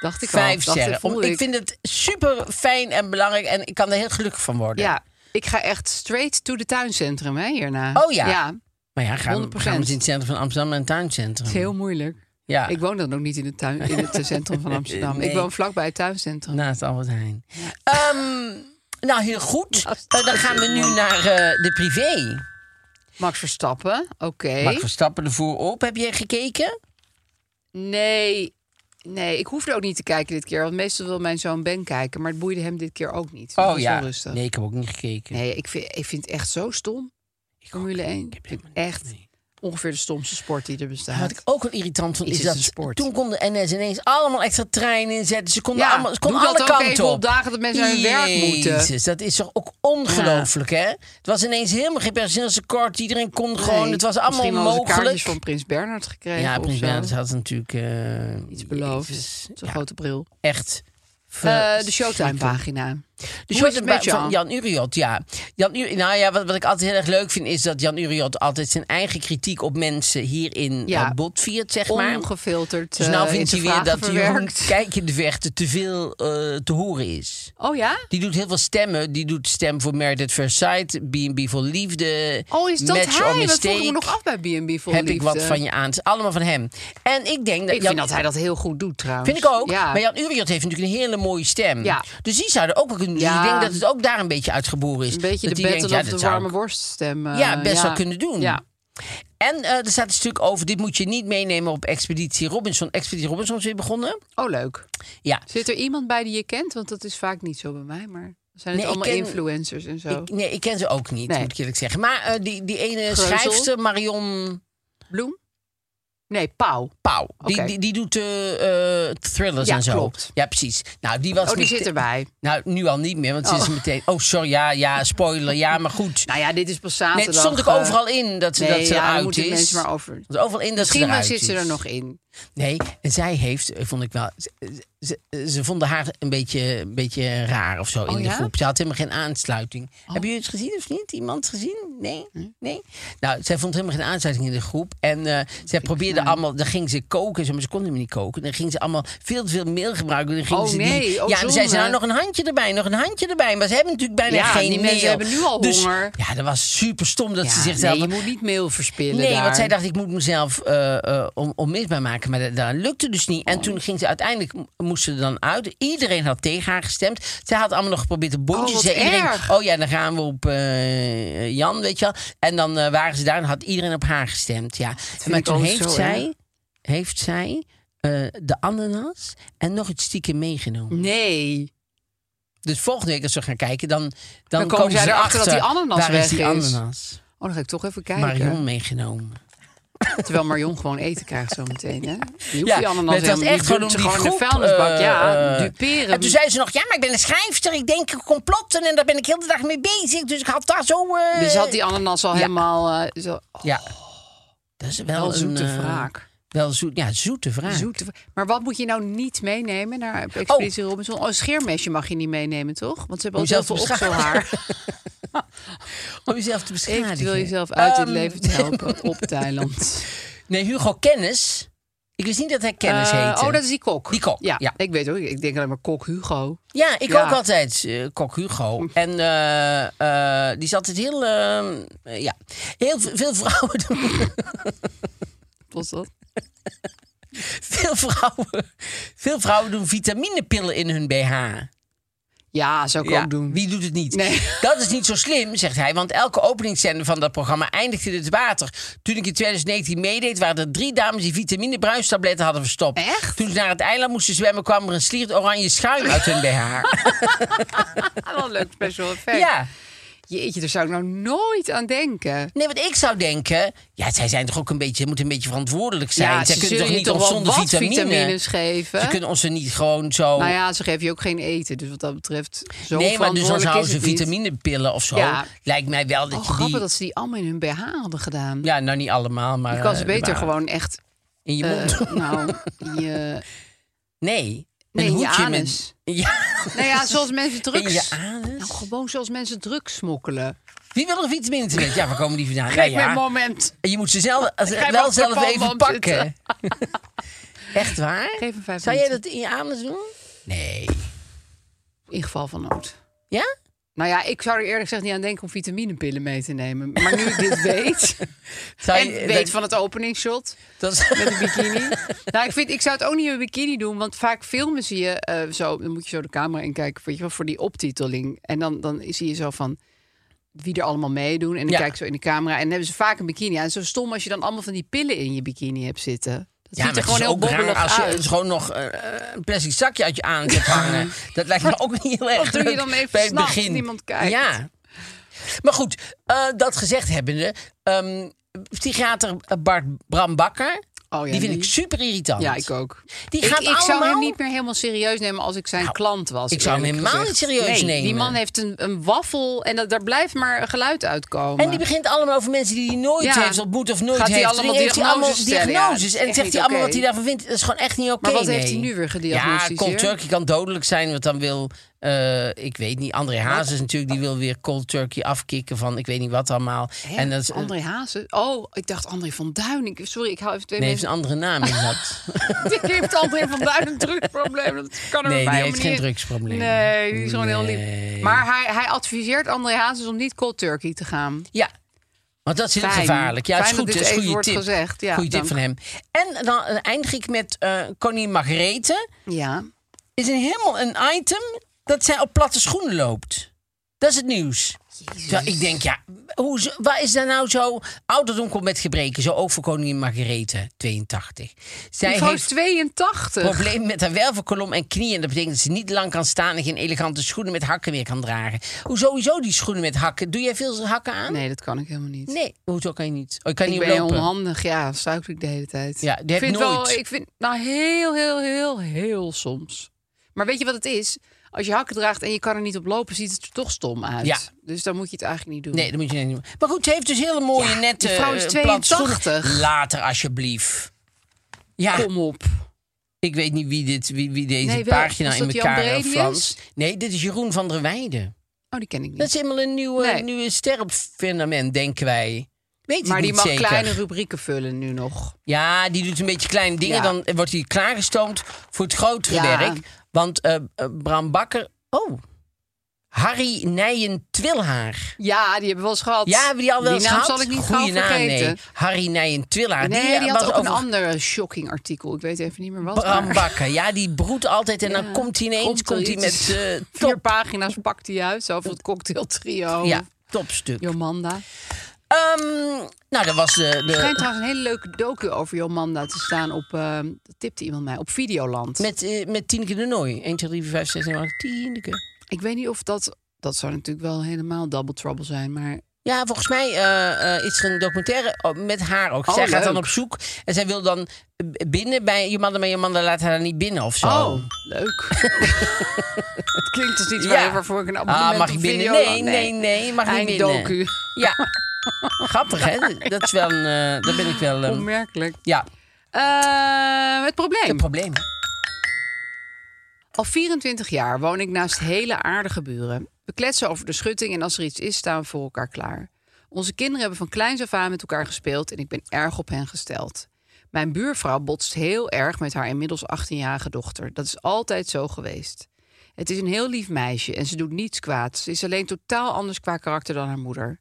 Speaker 4: Dacht ik al.
Speaker 3: vijf
Speaker 4: Dacht ik,
Speaker 3: sterren. Om-
Speaker 4: voelde
Speaker 3: ik vind het super fijn en belangrijk en ik kan er heel gelukkig van worden.
Speaker 4: Ja, ik ga echt straight to de tuincentrum hè, hierna.
Speaker 3: Oh ja.
Speaker 4: Ja, het
Speaker 3: Maar ja, gaan we,
Speaker 4: 100%.
Speaker 3: gaan we eens in het centrum van Amsterdam en het
Speaker 4: is
Speaker 3: tuincentrum.
Speaker 4: heel moeilijk.
Speaker 3: Ja,
Speaker 4: Ik woon dan ook niet in het, tuin, in het eh, centrum
Speaker 3: <laughs>
Speaker 4: van Amsterdam.
Speaker 3: Nee.
Speaker 4: Ik woon vlakbij het tuincentrum.
Speaker 3: naast Albert Heijn. Ehm, nou, heel goed. Eh, dan gaan we nu naar eh, de privé.
Speaker 4: Max Verstappen, oké.
Speaker 3: Max Verstappen ervoor op. Heb jij gekeken?
Speaker 4: Nee, Nee, ik hoefde ook niet te kijken dit keer. Want meestal wil mijn zoon Ben kijken. Maar het boeide hem dit keer ook niet. Dat
Speaker 3: Oh
Speaker 4: was
Speaker 3: ja.
Speaker 4: wel rustig.
Speaker 3: Nee, ik heb ook niet gekeken.
Speaker 4: Nee, ik vind, ik vind het echt zo stom. Formule 1.
Speaker 3: Ik heb
Speaker 4: vind
Speaker 3: helemaal niks
Speaker 4: echt
Speaker 3: mee.
Speaker 4: ongeveer de stomste sport die er bestaat.
Speaker 3: Maar Wat ik ook wel irritant vond,
Speaker 4: Is
Speaker 3: is,
Speaker 4: het
Speaker 3: dat
Speaker 4: een sport?
Speaker 3: toen kon de NS ineens allemaal extra treinen inzetten. Ze konden
Speaker 4: Ja,
Speaker 3: allemaal, ze konden
Speaker 4: doe dat
Speaker 3: alle
Speaker 4: ook
Speaker 3: kanten
Speaker 4: even op dagen dat mensen naar hun werk moeten.
Speaker 3: Jezus, dat is toch ook ongelooflijk, hè? Het was ineens helemaal geen personeelstekort. Iedereen kon gewoon,
Speaker 4: Nee,
Speaker 3: het was allemaal
Speaker 4: misschien hadden ze
Speaker 3: mogelijk.
Speaker 4: kaartjes van Prins Bernhard gekregen
Speaker 3: ja,
Speaker 4: of
Speaker 3: Prins
Speaker 4: zo.
Speaker 3: Bernhard had natuurlijk... eh,
Speaker 4: Iets beloofd.
Speaker 3: jezus,
Speaker 4: Zo'n
Speaker 3: ja,
Speaker 4: grote bril.
Speaker 3: Echt.
Speaker 4: Eh, de
Speaker 3: verschrikkelijk.
Speaker 4: Showtime-pagina.
Speaker 3: De
Speaker 4: Hoe is
Speaker 3: short
Speaker 4: het met
Speaker 3: van
Speaker 4: Jan?
Speaker 3: Jan Uriot, ja. Jan Ur- nou ja, wat, wat ik altijd heel erg leuk vind, is dat Jan Uriot altijd zijn eigen kritiek op mensen hierin
Speaker 4: Ja.
Speaker 3: ja. botviert, zeg maar.
Speaker 4: Ongefilterd.
Speaker 3: Dus nou
Speaker 4: eh, in
Speaker 3: vindt hij
Speaker 4: zijn
Speaker 3: weer
Speaker 4: vragen
Speaker 3: dat die hond
Speaker 4: verwerkt.
Speaker 3: Kijk in de Vechten te veel eh, te horen is.
Speaker 4: Oh ja?
Speaker 3: Die doet heel veel stemmen. Die doet stem voor Meredith Versailles, B&B voor Liefde,
Speaker 4: Oh, is dat
Speaker 3: Match
Speaker 4: hij?
Speaker 3: on
Speaker 4: Dat vroeg
Speaker 3: Mistake.
Speaker 4: ik me nog af bij B&B voor
Speaker 3: Heb ik
Speaker 4: liefde.
Speaker 3: wat van je aan. Het is allemaal van hem. En ik denk dat...
Speaker 4: Ik
Speaker 3: Jan-
Speaker 4: vind dat hij dat heel goed doet trouwens.
Speaker 3: Vind ik ook.
Speaker 4: Ja.
Speaker 3: Maar Jan Uriot heeft natuurlijk een hele mooie stem.
Speaker 4: Ja.
Speaker 3: Dus die zouden ook wel kunnen doen. Dus
Speaker 4: Ja.
Speaker 3: ik denk dat het ook daar een beetje uitgeboren is.
Speaker 4: Een beetje
Speaker 3: dat
Speaker 4: de
Speaker 3: die denkt,
Speaker 4: battle
Speaker 3: ja,
Speaker 4: of de
Speaker 3: dat zou
Speaker 4: warme
Speaker 3: ik-
Speaker 4: worststem. eh,
Speaker 3: Ja, best wel kunnen doen.
Speaker 4: Ja.
Speaker 3: En eh, er staat een stuk over, dit moet je niet meenemen op Expeditie Robinson. Expeditie Robinson is weer begonnen.
Speaker 4: Oh, leuk.
Speaker 3: Ja.
Speaker 4: Zit er iemand bij die je kent? Want dat is vaak niet zo bij mij, maar zijn het
Speaker 3: Nee, ik
Speaker 4: allemaal
Speaker 3: ken-
Speaker 4: influencers en zo?
Speaker 3: Ik, nee, ik ken ze ook niet,
Speaker 4: Nee.
Speaker 3: moet ik eerlijk zeggen. Maar eh, die, die ene
Speaker 4: Greuzel?
Speaker 3: schrijfster, Marion
Speaker 4: Bloem? Nee, Pauw.
Speaker 3: Pauw, die,
Speaker 4: Oké.
Speaker 3: die, die doet eh, eh, thrillers
Speaker 4: Ja,
Speaker 3: en zo.
Speaker 4: klopt.
Speaker 3: Ja, precies. Nou, die was
Speaker 4: Oh, die
Speaker 3: meteen-
Speaker 4: zit erbij.
Speaker 3: Nou, nu al niet meer, want ze
Speaker 4: Oh.
Speaker 3: is meteen... Oh, sorry, ja, ja, spoiler, ja, maar goed.
Speaker 4: Nou ja, dit is pas
Speaker 3: Nee,
Speaker 4: zaterdag.
Speaker 3: het stond ook
Speaker 4: eh,
Speaker 3: overal in dat ze,
Speaker 4: nee,
Speaker 3: dat ze
Speaker 4: ja, daar
Speaker 3: eruit
Speaker 4: moeten
Speaker 3: is.
Speaker 4: mensen maar over.
Speaker 3: Want overal in dat ze
Speaker 4: Misschien
Speaker 3: eruit
Speaker 4: zit ze
Speaker 3: is.
Speaker 4: er nog in.
Speaker 3: Nee, en zij heeft, eh, vond ik wel, ze, ze- ze vonden haar een beetje, een beetje raar of zo in
Speaker 4: Oh,
Speaker 3: de
Speaker 4: ja? Oh.
Speaker 3: groep. Ze had helemaal geen aansluiting. Hebben jullie het gezien of niet? Iemand gezien? Nee? Nee? Nou, zij vond helemaal geen aansluiting in de groep. En eh zij probeerde allemaal, dan ging ze koken, zo, maar ze kon helemaal niet koken. Dan ging ze allemaal veel te veel meel gebruiken. Dan ging
Speaker 4: Oh,
Speaker 3: ze
Speaker 4: nee,
Speaker 3: die,
Speaker 4: oh,
Speaker 3: ja, en dan zei ze nou
Speaker 4: zonde.
Speaker 3: nog een handje erbij, nog een handje erbij. Maar ze hebben natuurlijk bijna
Speaker 4: Ja,
Speaker 3: geen
Speaker 4: die mensen
Speaker 3: meel.
Speaker 4: hebben nu al
Speaker 3: Dus-
Speaker 4: honger.
Speaker 3: Ja, dat was super stom dat
Speaker 4: Ja,
Speaker 3: ze zichzelf...
Speaker 4: nee, je moet niet mail verspillen
Speaker 3: Nee,
Speaker 4: daar.
Speaker 3: want zij dacht, ik moet mezelf eh, eh, on- onmisbaar maken. Maar dat, dat lukte dus niet. En
Speaker 4: Oh.
Speaker 3: toen ging ze uiteindelijk, m- moest ze er dan uit. Iedereen had tegen haar gestemd. Zij had allemaal nog geprobeerd te bondjes.
Speaker 4: Oh, wat
Speaker 3: Zei iedereen,
Speaker 4: erg.
Speaker 3: oh ja, dan gaan we op eh, Jan, weet je wel. En dan eh, waren ze daar en had iedereen op haar gestemd. Ja. Maar
Speaker 4: ik
Speaker 3: toen
Speaker 4: ook
Speaker 3: heeft
Speaker 4: zo
Speaker 3: zij, heeft zij eh, de ananas en nog iets stiekem meegenomen.
Speaker 4: Nee.
Speaker 3: Dus volgende week als we gaan kijken, dan, dan,
Speaker 4: komen zij
Speaker 3: ze
Speaker 4: erachter dat die ananas
Speaker 3: waar
Speaker 4: weg
Speaker 3: is. Die
Speaker 4: is.
Speaker 3: ananas?
Speaker 4: Oh, dan ga ik toch even kijken.
Speaker 3: Marion meegenomen.
Speaker 4: <laughs> Terwijl Marion gewoon eten krijgt zometeen, hè? Die hoeft
Speaker 3: Ja, maar
Speaker 4: die ananas
Speaker 3: het was
Speaker 4: helemaal
Speaker 3: echt
Speaker 4: niet.
Speaker 3: gewoon
Speaker 4: Doet
Speaker 3: om die
Speaker 4: ze gewoon in de
Speaker 3: groep,
Speaker 4: vuilnisbak.
Speaker 3: eh,
Speaker 4: ja,
Speaker 3: eh,
Speaker 4: duperen.
Speaker 3: En toen zei ze nog, ja, maar ik ben een schrijfster. Ik denk aan complotten en daar ben ik heel de dag mee bezig. Dus ik had daar zo... eh,
Speaker 4: Dus had die ananas al helemaal... eh, zo, oh,
Speaker 3: Ja. Dat is wel
Speaker 4: wel
Speaker 3: een...
Speaker 4: zoete
Speaker 3: eh,
Speaker 4: wraak.
Speaker 3: Wel zoet, ja, zoete vraag.
Speaker 4: Zoete wra- Maar wat moet je nou niet meenemen naar Expeditie Robinson? Oh, een scheermesje mag je niet meenemen, toch? Want ze hebben
Speaker 3: Om
Speaker 4: al heel
Speaker 3: jezelf
Speaker 4: veel
Speaker 3: te beschadigen. <laughs>
Speaker 4: opzelhaar.
Speaker 3: Om jezelf te beschadigen.
Speaker 4: Eventueel jezelf uit het
Speaker 3: Ehm,
Speaker 4: leven te
Speaker 3: <laughs>
Speaker 4: helpen op Thailand.
Speaker 3: Nee, Hugo Kennis. Ik wist niet dat hij Kennis
Speaker 4: Eh,
Speaker 3: heette.
Speaker 4: oh, dat is die kok.
Speaker 3: Die kok, ja.
Speaker 4: Ik weet ook, ik denk alleen maar kok Hugo.
Speaker 3: Ja, ik
Speaker 4: Ja. Hm.
Speaker 3: ook altijd. eh, kok Hugo. En eh, eh, die zat het heel... eh, eh, ja, heel v- veel <laughs> vrouwen doen
Speaker 4: Was dat?
Speaker 3: Veel vrouwen, veel vrouwen doen vitaminepillen in hun BH.
Speaker 4: Ja, zou ik ook doen.
Speaker 3: Wie doet het niet?
Speaker 4: Nee.
Speaker 3: <laughs> Dat is niet zo slim, zegt hij. Want elke openingszender van dat programma eindigt in het water. Toen ik in 2019 meedeed, waren er drie dames die vitaminebruistabletten hadden verstopt.
Speaker 4: Echt?
Speaker 3: Toen ze naar het eiland moesten zwemmen, kwam er een sliert oranje schuim uit hun
Speaker 4: <laughs>
Speaker 3: BH.
Speaker 4: <laughs> Ah, wel een leuk special effect.
Speaker 3: ja.
Speaker 4: Jeetje, daar zou ik nou nooit aan denken.
Speaker 3: Nee, want ik zou denken... Ja, zij zijn toch ook een beetje... Ze moeten een beetje verantwoordelijk zijn.
Speaker 4: ja,
Speaker 3: zij
Speaker 4: ze
Speaker 3: kunnen
Speaker 4: zullen
Speaker 3: toch
Speaker 4: je
Speaker 3: niet
Speaker 4: toch
Speaker 3: ons
Speaker 4: wel
Speaker 3: zonder
Speaker 4: wat
Speaker 3: vitamine...
Speaker 4: vitamines geven?
Speaker 3: Ze kunnen ons er niet gewoon zo...
Speaker 4: Nou ja, ze geven je ook geen eten. Dus wat dat betreft, zo
Speaker 3: Nee, maar dus dan
Speaker 4: verantwoordelijk
Speaker 3: zouden
Speaker 4: is
Speaker 3: ze
Speaker 4: het niet.
Speaker 3: vitaminepillen of zo.
Speaker 4: Ja.
Speaker 3: Lijkt mij wel dat
Speaker 4: Oh,
Speaker 3: je
Speaker 4: grappig
Speaker 3: die...
Speaker 4: dat ze die allemaal in hun BH hadden gedaan.
Speaker 3: Ja, nou niet allemaal, maar...
Speaker 4: je kan ze
Speaker 3: eh,
Speaker 4: beter
Speaker 3: maar
Speaker 4: gewoon echt...
Speaker 3: In je
Speaker 4: eh,
Speaker 3: mond.
Speaker 4: <laughs> nou, je,
Speaker 3: nee.
Speaker 4: nee,
Speaker 3: een
Speaker 4: in je
Speaker 3: hoedje met-
Speaker 4: anus.
Speaker 3: <laughs> Ja,
Speaker 4: Nou ja, zoals mensen
Speaker 3: in
Speaker 4: drugs...
Speaker 3: je anus.
Speaker 4: Nou, gewoon zoals mensen drugs smokkelen.
Speaker 3: Wie wil er vitamine te weten? Ja, waar komen die vandaan?
Speaker 4: Geef
Speaker 3: Nou ja,
Speaker 4: me een moment.
Speaker 3: je moet ze
Speaker 4: <laughs>
Speaker 3: zelf, als-
Speaker 4: Ga je
Speaker 3: wel
Speaker 4: maar
Speaker 3: zelf
Speaker 4: op de
Speaker 3: even
Speaker 4: palmband
Speaker 3: pakken.
Speaker 4: <laughs>
Speaker 3: Echt waar?
Speaker 4: Geef hem vijf
Speaker 3: Zou jij
Speaker 4: minuten.
Speaker 3: dat in je anus doen? Nee.
Speaker 4: In geval van nood.
Speaker 3: Ja?
Speaker 4: Nou ja, ik zou er eerlijk gezegd niet aan denken om vitaminepillen mee te nemen. Maar nu ik
Speaker 3: <laughs>
Speaker 4: dit weet,
Speaker 3: Zou
Speaker 4: en
Speaker 3: Nou, je-
Speaker 4: weet
Speaker 3: dat-
Speaker 4: van het openingsshot,
Speaker 3: dat is-
Speaker 4: met een
Speaker 3: <laughs>
Speaker 4: bikini. nou, ik, vind, ik zou het ook niet in een bikini doen, want vaak filmen zie je eh, zo. Dan moet je zo de camera in kijken weet je wel, voor die optiteling. En dan, dan zie je zo van wie er allemaal meedoen. En dan
Speaker 3: Ja.
Speaker 4: kijk ik zo in de camera en dan hebben ze vaak een bikini aan. Zo stom als je dan allemaal van die pillen in je bikini hebt zitten. Dat
Speaker 3: Ja,
Speaker 4: ziet
Speaker 3: maar
Speaker 4: er gewoon
Speaker 3: het is
Speaker 4: heel
Speaker 3: ook raar
Speaker 4: bobbelig
Speaker 3: als je dus
Speaker 4: uit.
Speaker 3: gewoon nog eh, een plastic zakje uit je aan hebt
Speaker 4: <laughs>
Speaker 3: hangen. dat lijkt me ook niet heel erg
Speaker 4: Wat doe je
Speaker 3: leuk
Speaker 4: dan even
Speaker 3: bij het
Speaker 4: s'nachts,
Speaker 3: begin.
Speaker 4: niemand kijkt?
Speaker 3: Ja. Maar goed, eh, dat gezegd hebbende... ehm, psychiater eh, Bart Bram Bakker,
Speaker 4: Oh ja,
Speaker 3: die vind
Speaker 4: die-
Speaker 3: ik super irritant.
Speaker 4: Ja, ik ook.
Speaker 3: Die
Speaker 4: ik
Speaker 3: gaat
Speaker 4: ik
Speaker 3: allemaal... Nou,
Speaker 4: zou hem niet meer helemaal serieus nemen als ik zijn klant was.
Speaker 3: ik zou hem
Speaker 4: eerlijk
Speaker 3: helemaal
Speaker 4: gezegd.
Speaker 3: niet serieus
Speaker 4: Nee, Die
Speaker 3: nemen.
Speaker 4: man heeft een, een waffel en dat, daar blijft maar geluid uitkomen.
Speaker 3: En die begint allemaal over mensen die hij nooit
Speaker 4: Ja.
Speaker 3: heeft ontmoet of nooit
Speaker 4: Gaat hij
Speaker 3: heeft.
Speaker 4: allemaal
Speaker 3: Die heeft hij allemaal
Speaker 4: diagnoses stellen? Ja,
Speaker 3: diagnoses.
Speaker 4: dat is
Speaker 3: en
Speaker 4: echt
Speaker 3: zegt
Speaker 4: niet
Speaker 3: hij allemaal
Speaker 4: oké.
Speaker 3: wat hij daarvan vindt. Dat is gewoon echt niet oké.
Speaker 4: Maar wat heeft
Speaker 3: nee.
Speaker 4: hij nu weer gediagnosticeerd?
Speaker 3: Ja, cold turkey kan dodelijk zijn. Want dan wil, eh, ik weet niet, André Hazes natuurlijk... die wil weer cold turkey afkicken van ik weet niet wat allemaal. en dat is,
Speaker 4: Eh,
Speaker 3: eh,
Speaker 4: André Hazen. Oh, ik dacht André van Duin. Ik, sorry, ik hou even twee
Speaker 3: nee, heeft
Speaker 4: mensen.
Speaker 3: een andere naam in
Speaker 4: <laughs>
Speaker 3: dat.
Speaker 4: Die heeft André van Duin een drugsprobleem. Dat kan er
Speaker 3: Nee, die
Speaker 4: bij
Speaker 3: heeft geen drugsprobleem.
Speaker 4: Nee, die is gewoon heel
Speaker 3: Nee.
Speaker 4: lief. Maar hij, hij adviseert André Hazes om niet cold turkey te gaan.
Speaker 3: Ja. Want dat is heel
Speaker 4: Fijn.
Speaker 3: gevaarlijk. Ja, het is
Speaker 4: Fijn
Speaker 3: goed.
Speaker 4: dat
Speaker 3: Het
Speaker 4: dit
Speaker 3: is een
Speaker 4: even
Speaker 3: goede
Speaker 4: wordt
Speaker 3: tip.
Speaker 4: gezegd. Ja,
Speaker 3: goede tip
Speaker 4: dank.
Speaker 3: van hem. En dan eh, eindig ik met eh koningin Margarethe.
Speaker 4: Ja.
Speaker 3: Is een helemaal een item dat zij op platte schoenen loopt. Dat is het nieuws. Terwijl ik denk, ja, hoe, zo- waar is daar nou zo... Ouderdom komt met gebreken, zo ook voor koningin Margarethe, 82. Zij
Speaker 4: Die vrouw is
Speaker 3: heeft
Speaker 4: 82.
Speaker 3: probleem met haar wervelkolom en knieën. Dat betekent dat ze niet lang kan staan en geen elegante schoenen met hakken meer kan dragen. Hoe sowieso die schoenen met hakken? Doe jij veel hakken aan?
Speaker 4: Nee, dat kan ik helemaal niet.
Speaker 3: Nee, hoezo kan je niet? Oh, je kan
Speaker 4: ik
Speaker 3: niet
Speaker 4: ben
Speaker 3: lopen.
Speaker 4: onhandig, ja, suiker ik de hele tijd.
Speaker 3: Ja, die
Speaker 4: ik
Speaker 3: heb
Speaker 4: vind
Speaker 3: nooit.
Speaker 4: Wel, ik vind, nou, heel, heel, heel, heel soms. Maar weet je wat het is? Als je hakken draagt en je kan er niet op lopen, ziet het er toch stom uit.
Speaker 3: Ja.
Speaker 4: Dus dan moet je het eigenlijk niet doen.
Speaker 3: Nee, dat moet je niet doen. Maar goed, ze heeft dus hele mooie nette
Speaker 4: die vrouw is
Speaker 3: eh, platte schoenen.
Speaker 4: 82.
Speaker 3: Later, alsjeblieft. Ja,
Speaker 4: Kom op.
Speaker 3: ik weet niet wie, dit, wie, wie deze
Speaker 4: Nee, wel.
Speaker 3: pagina
Speaker 4: Is
Speaker 3: in
Speaker 4: dat Jan
Speaker 3: elkaar eh,
Speaker 4: Brelius?
Speaker 3: flanst. Nee, dit is Jeroen van der Weijden.
Speaker 4: Oh, die ken ik niet.
Speaker 3: Dat is helemaal een nieuwe,
Speaker 4: Nee.
Speaker 3: nieuwe ster op firmament, denken wij. Weet het
Speaker 4: maar die
Speaker 3: niet
Speaker 4: mag
Speaker 3: zeker.
Speaker 4: kleine rubrieken vullen nu nog.
Speaker 3: Ja, die doet een beetje kleine dingen.
Speaker 4: Ja.
Speaker 3: Dan wordt hij klaargestoomd voor het grotere
Speaker 4: Ja.
Speaker 3: werk. Want eh, eh, Bram Bakker... Oh, Harry Nijen Twilhaar.
Speaker 4: Ja, die hebben we wel eens gehad.
Speaker 3: Ja, hebben die al wel
Speaker 4: die
Speaker 3: eens
Speaker 4: naam
Speaker 3: gehad?
Speaker 4: zal ik niet
Speaker 3: Goeie
Speaker 4: gaan
Speaker 3: naam,
Speaker 4: vergeten.
Speaker 3: nee. Harry Nijen Twilhaar.
Speaker 4: Nee, die, had
Speaker 3: was
Speaker 4: ook een
Speaker 3: over
Speaker 4: ander shocking artikel. Ik weet even niet meer wat.
Speaker 3: Bram
Speaker 4: maar-
Speaker 3: Bakker. Ja, die broedt altijd en dan komt hij ineens
Speaker 4: Komt er
Speaker 3: komt hij met
Speaker 4: iets.
Speaker 3: eh,
Speaker 4: Vier
Speaker 3: top,
Speaker 4: pagina's pakt hij uit. Zo voor het cocktail trio.
Speaker 3: ja, Oh, topstuk.
Speaker 4: Jomanda.
Speaker 3: Ehm, nou, dat was de,
Speaker 4: Er schijnt
Speaker 3: de
Speaker 4: trouwens een hele leuke docu over Jomanda te staan op, eh, dat tipte iemand mij, op Videoland.
Speaker 3: met, eh, met Tieneke de Nooi. 1, 2, 3, 4, 5, 6, 7, 8, Tieneke.
Speaker 4: Ik weet niet of dat, dat zou natuurlijk wel helemaal double trouble zijn, maar
Speaker 3: Ja, volgens mij eh, eh, is er een documentaire oh, met haar ook.
Speaker 4: Oh,
Speaker 3: zij gaat dan
Speaker 4: leuk.
Speaker 3: op zoek en zij wil dan eh, binnen bij je man, maar je man laat haar dan niet binnen of zo. Ah,
Speaker 4: oh, leuk. <laughs> het klinkt als iets
Speaker 3: Ja.
Speaker 4: waar- waarvoor ik een abonnement
Speaker 3: Ah, mag
Speaker 4: op
Speaker 3: ik binnen?
Speaker 4: Videoland-
Speaker 3: Nee, nee, nee, mag niet
Speaker 4: Eind
Speaker 3: binnen.
Speaker 4: docu.
Speaker 3: Ja. Grappig, hè? Dat is wel een... eh, daar ben ik wel... eh,
Speaker 4: Onmerkelijk.
Speaker 3: ja,
Speaker 4: Eh, het
Speaker 3: een
Speaker 4: probleem.
Speaker 3: probleem.
Speaker 4: Al 24 jaar woon ik naast hele aardige buren. We kletsen over de schutting en als er iets is, staan we voor elkaar klaar. Onze kinderen hebben van kleins af aan met elkaar gespeeld en ik ben erg op hen gesteld. Mijn buurvrouw botst heel erg met haar inmiddels 18-jarige dochter. Dat is altijd zo geweest. Het is een heel lief meisje en ze doet niets kwaads. Ze is alleen totaal anders qua karakter dan haar moeder.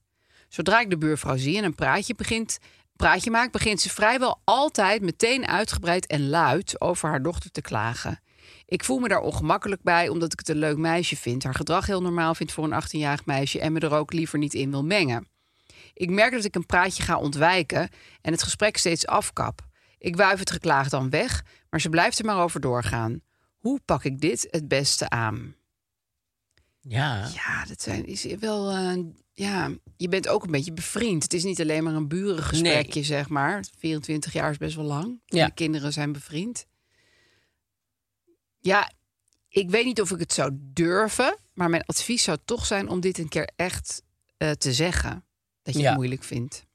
Speaker 4: Zodra ik de buurvrouw zie en een praatje, begint, praatje maak, begint ze vrijwel altijd meteen uitgebreid en luid over haar dochter te klagen. Ik voel me daar ongemakkelijk bij, omdat ik het een leuk meisje vind, haar gedrag heel normaal vind voor een 18-jarig meisje en me er ook liever niet in wil mengen. Ik merk dat ik een praatje ga ontwijken en het gesprek steeds afkap. Ik wuif het geklaag dan weg, maar ze blijft er maar over doorgaan. Hoe pak ik dit het beste aan?
Speaker 3: Ja.
Speaker 4: Ja, dat zijn, is wel. eh, ja, je bent ook een beetje bevriend. Het is niet alleen maar een burengesprekje, zeg maar. 24 jaar is best wel lang.
Speaker 3: Ja.
Speaker 4: Ja. De kinderen zijn bevriend. Ja, ik weet niet of ik het zou durven, maar mijn advies zou toch zijn om dit een keer echt eh, te zeggen. Dat je
Speaker 3: Ja.
Speaker 4: het moeilijk vindt.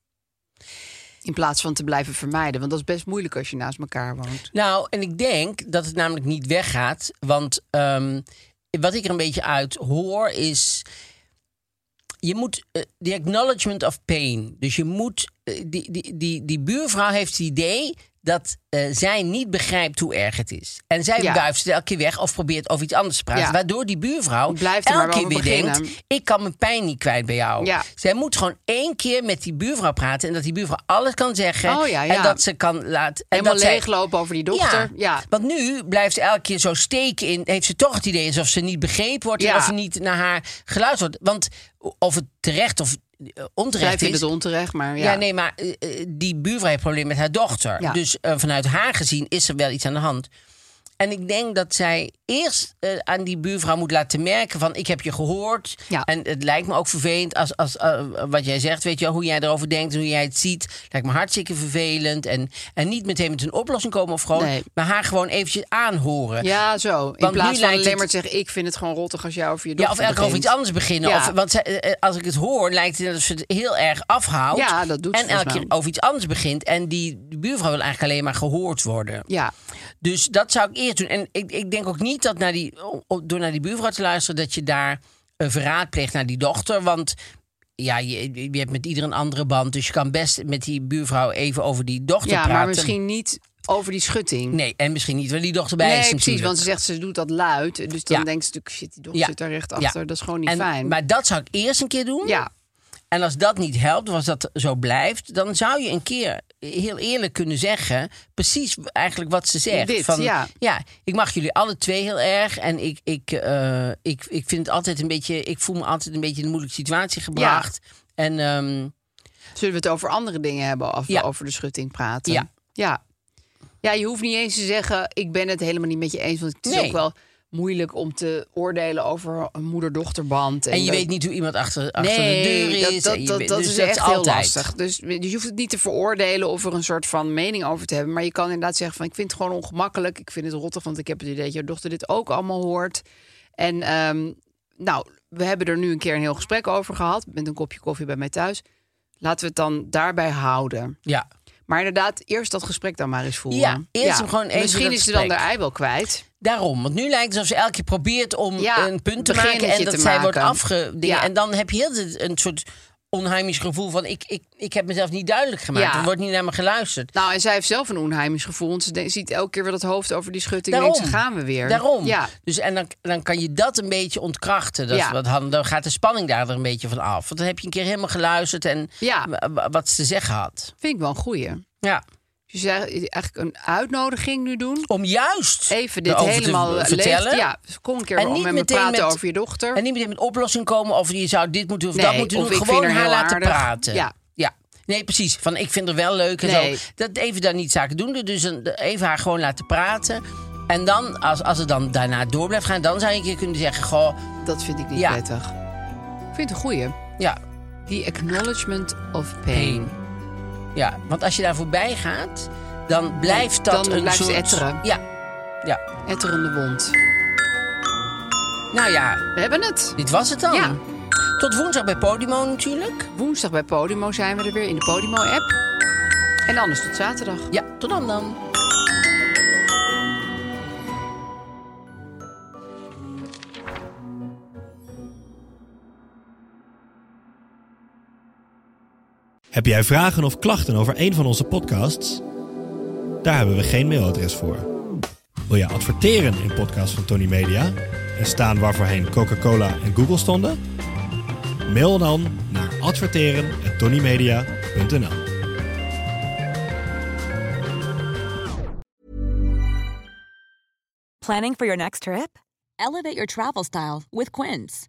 Speaker 4: In plaats van te blijven vermijden. Want dat is best moeilijk als je naast elkaar woont.
Speaker 3: Nou, en ik denk dat het namelijk niet weggaat. Want ehm, wat ik er een beetje uit hoor is... Je moet... eh, The acknowledgement of pain. Dus je moet... eh, die, die, die, die buurvrouw heeft het idee dat eh, zij niet begrijpt hoe erg het is. En zij
Speaker 4: Ja.
Speaker 3: wuift het elke keer weg of probeert over iets anders te praten.
Speaker 4: Ja.
Speaker 3: Waardoor die buurvrouw
Speaker 4: Blijft er maar
Speaker 3: elke keer
Speaker 4: wel
Speaker 3: weer
Speaker 4: over beginnen.
Speaker 3: denkt... ik kan mijn pijn niet kwijt bij jou.
Speaker 4: Ja.
Speaker 3: Zij moet gewoon één keer met die buurvrouw praten... en dat die buurvrouw alles kan zeggen.
Speaker 4: Oh ja,
Speaker 3: En
Speaker 4: ja.
Speaker 3: dat ze kan laten... En
Speaker 4: Helemaal
Speaker 3: dat zij-
Speaker 4: leeglopen over die dochter.
Speaker 3: ja,
Speaker 4: ja.
Speaker 3: want nu blijft ze elke keer zo steken in. Heeft ze toch het idee alsof ze niet begrepen wordt. En
Speaker 4: Ja.
Speaker 3: of er niet naar haar geluisterd wordt. Want of het terecht of eh, onterecht
Speaker 4: Zij vindt
Speaker 3: is.
Speaker 4: het onterecht, maar ja.
Speaker 3: Ja, nee, maar eh, eh, die buurvrouw heeft problemen met haar dochter.
Speaker 4: Ja.
Speaker 3: Dus eh, vanuit haar gezien is er wel iets aan de hand. En ik denk dat zij eerst eh, aan die buurvrouw moet laten merken van... ik heb je gehoord
Speaker 4: Ja.
Speaker 3: en het lijkt me ook vervelend als, als eh, wat jij zegt. Weet je wel, hoe jij erover denkt en hoe jij het ziet. Lijkt me hartstikke vervelend. En, en niet meteen met een oplossing komen of gewoon...
Speaker 4: Nee.
Speaker 3: maar haar gewoon eventjes aanhoren.
Speaker 4: <laughs> Ja, zo. In
Speaker 3: Want nu
Speaker 4: plaats van
Speaker 3: lijkt
Speaker 4: alleen maar
Speaker 3: het-
Speaker 4: te zeggen, ik vind het gewoon rottig als jou of je
Speaker 3: Ja,
Speaker 4: dochter
Speaker 3: of elke keer over
Speaker 4: begint.
Speaker 3: iets anders beginnen.
Speaker 4: Ja.
Speaker 3: Of, want zij- eh, eh, als ik het hoor, lijkt het net alsof ze het heel erg afhoudt.
Speaker 4: Ja, dat doet ze
Speaker 3: En elke
Speaker 4: volgens
Speaker 3: keer
Speaker 4: mij.
Speaker 3: over iets anders begint. En die de buurvrouw wil eigenlijk alleen maar gehoord worden.
Speaker 4: Ja,
Speaker 3: Dus dat zou ik eerst doen. En ik, ik denk ook niet dat naar die, o- o- door naar die buurvrouw te luisteren... dat je daar een verraad pleegt naar die dochter. Want ja, je, je hebt met ieder een andere band. Dus je kan best met die buurvrouw even over die dochter
Speaker 4: ja
Speaker 3: praten.
Speaker 4: maar misschien niet over die schutting.
Speaker 3: Nee, en misschien niet waar die dochter bij
Speaker 4: nee,
Speaker 3: is
Speaker 4: precies,
Speaker 3: natuurlijk.
Speaker 4: want ze zegt ze doet dat luid. Dus dan
Speaker 3: Ja.
Speaker 4: denkt ze natuurlijk, shit, die dochter zit daar recht achter. Dat is gewoon niet
Speaker 3: En-
Speaker 4: fijn.
Speaker 3: Maar dat zou ik eerst een keer doen.
Speaker 4: ja,
Speaker 3: En als dat niet helpt, of als dat zo blijft, dan zou je een keer heel eerlijk kunnen zeggen, precies eigenlijk wat ze zegt.
Speaker 4: Dit,
Speaker 3: van,
Speaker 4: ja.
Speaker 3: ik mag jullie alle twee heel erg. En ik, ik, eh, ik, ik vind het altijd een beetje, ik voel me altijd een beetje in een moeilijke situatie gebracht. En ehm,
Speaker 4: zullen we het over andere dingen hebben of we
Speaker 3: Ja.
Speaker 4: over de schutting praten?
Speaker 3: Ja.
Speaker 4: ja. Ja, je hoeft niet eens te zeggen, ik ben het helemaal niet met je eens. Want het is
Speaker 3: Nee.
Speaker 4: ook wel moeilijk om te oordelen over een moeder-dochterband.
Speaker 3: en je weet niet hoe iemand achter, achter
Speaker 4: nee,
Speaker 3: de deur is.
Speaker 4: Dat,
Speaker 3: en
Speaker 4: dat,
Speaker 3: je
Speaker 4: dat,
Speaker 3: weet-
Speaker 4: dat
Speaker 3: dus
Speaker 4: is
Speaker 3: dat
Speaker 4: echt heel
Speaker 3: altijd.
Speaker 4: lastig. Dus, dus je hoeft het niet te veroordelen of er een soort van mening over te hebben. Maar je kan inderdaad zeggen van ik vind het gewoon ongemakkelijk. Ik vind het rottig, want ik heb het idee dat jouw dochter dit ook allemaal hoort. En ehm, nou, we hebben er nu een keer een heel gesprek over gehad. Met een kopje koffie bij mij thuis. Laten we het dan daarbij houden.
Speaker 3: Ja.
Speaker 4: Maar inderdaad, eerst dat gesprek dan maar eens voeren.
Speaker 3: Ja, eerst hem gewoon even
Speaker 4: Misschien
Speaker 3: dat
Speaker 4: is ze dan
Speaker 3: gesprek.
Speaker 4: haar ei wel kwijt.
Speaker 3: Daarom, want nu lijkt het alsof ze elke keer probeert om
Speaker 4: Ja,
Speaker 3: een punt te
Speaker 4: een beginnetje
Speaker 3: maken en dat
Speaker 4: te
Speaker 3: zij wordt
Speaker 4: maken.
Speaker 3: afgedingen.
Speaker 4: Ja.
Speaker 3: En dan heb je heel de tijd een soort onheimisch gevoel van ik, ik, ik heb mezelf niet duidelijk gemaakt.
Speaker 4: Ja.
Speaker 3: Er wordt niet naar me geluisterd.
Speaker 4: Nou, en zij heeft zelf een onheimisch gevoel. Want ze de- ziet elke keer weer dat hoofd over die schutting. en
Speaker 3: Daarom.
Speaker 4: denkt, ze gaan we weer.
Speaker 3: Daarom.
Speaker 4: Ja.
Speaker 3: Dus en dan, dan kan je dat een beetje ontkrachten. Dat is
Speaker 4: Ja.
Speaker 3: wat Han- dan gaat de spanning daar er een beetje van af. Want dan heb je een keer helemaal geluisterd en
Speaker 4: Ja.
Speaker 3: wa- wa- wat ze te zeggen had.
Speaker 4: Vind ik wel een goeie.
Speaker 3: Ja.
Speaker 4: Dus je zou eigenlijk een uitnodiging nu doen.
Speaker 3: Om juist
Speaker 4: Even dit
Speaker 3: erover Nou, te
Speaker 4: helemaal leeg-
Speaker 3: vertellen.
Speaker 4: Ja, dus kom een keer
Speaker 3: En
Speaker 4: om
Speaker 3: niet
Speaker 4: met me
Speaker 3: meteen
Speaker 4: praten
Speaker 3: met-
Speaker 4: over je dochter.
Speaker 3: En niet meteen met oplossing komen of je zou dit moeten of
Speaker 4: Nee,
Speaker 3: dat moeten
Speaker 4: of
Speaker 3: doen.
Speaker 4: ik vind
Speaker 3: Gewoon
Speaker 4: haar
Speaker 3: haar
Speaker 4: heel
Speaker 3: laten
Speaker 4: aardig.
Speaker 3: praten.
Speaker 4: Ja.
Speaker 3: ja. Nee, precies. Van ik vind er wel leuk en
Speaker 4: Nee.
Speaker 3: zo. Dat even daar niet zaken doen. Dus een- even haar gewoon laten praten. En dan, als, als het dan daarna door blijft gaan, dan zou je een keer kunnen zeggen: Goh,
Speaker 4: Dat vind ik niet
Speaker 3: Ja.
Speaker 4: prettig. Ik vind het een goeie.
Speaker 3: ja,
Speaker 4: The acknowledgement of pain.
Speaker 3: pain. Ja, want als je daar voorbij gaat, dan blijft dat
Speaker 4: Dan
Speaker 3: een
Speaker 4: blijft ze
Speaker 3: soort...
Speaker 4: etteren.
Speaker 3: Ja, ja.
Speaker 4: Etterende wond.
Speaker 3: Nou ja,
Speaker 4: We hebben het.
Speaker 3: dit was het dan.
Speaker 4: Ja.
Speaker 3: Tot woensdag bij Podimo natuurlijk.
Speaker 4: Woensdag bij Podimo zijn we er weer in de Podimo-app. En anders tot zaterdag.
Speaker 3: Ja, tot dan dan.
Speaker 5: Heb jij vragen of klachten over een van onze podcasts? Daar hebben we geen mailadres voor. Wil je adverteren in podcasts van Tony Media en staan waarvoorheen Coca-Cola en Google stonden? Mail dan naar adverteren@tonymedia.nl.
Speaker 1: Planning for your next trip?
Speaker 6: Elevate your travel style with Quince.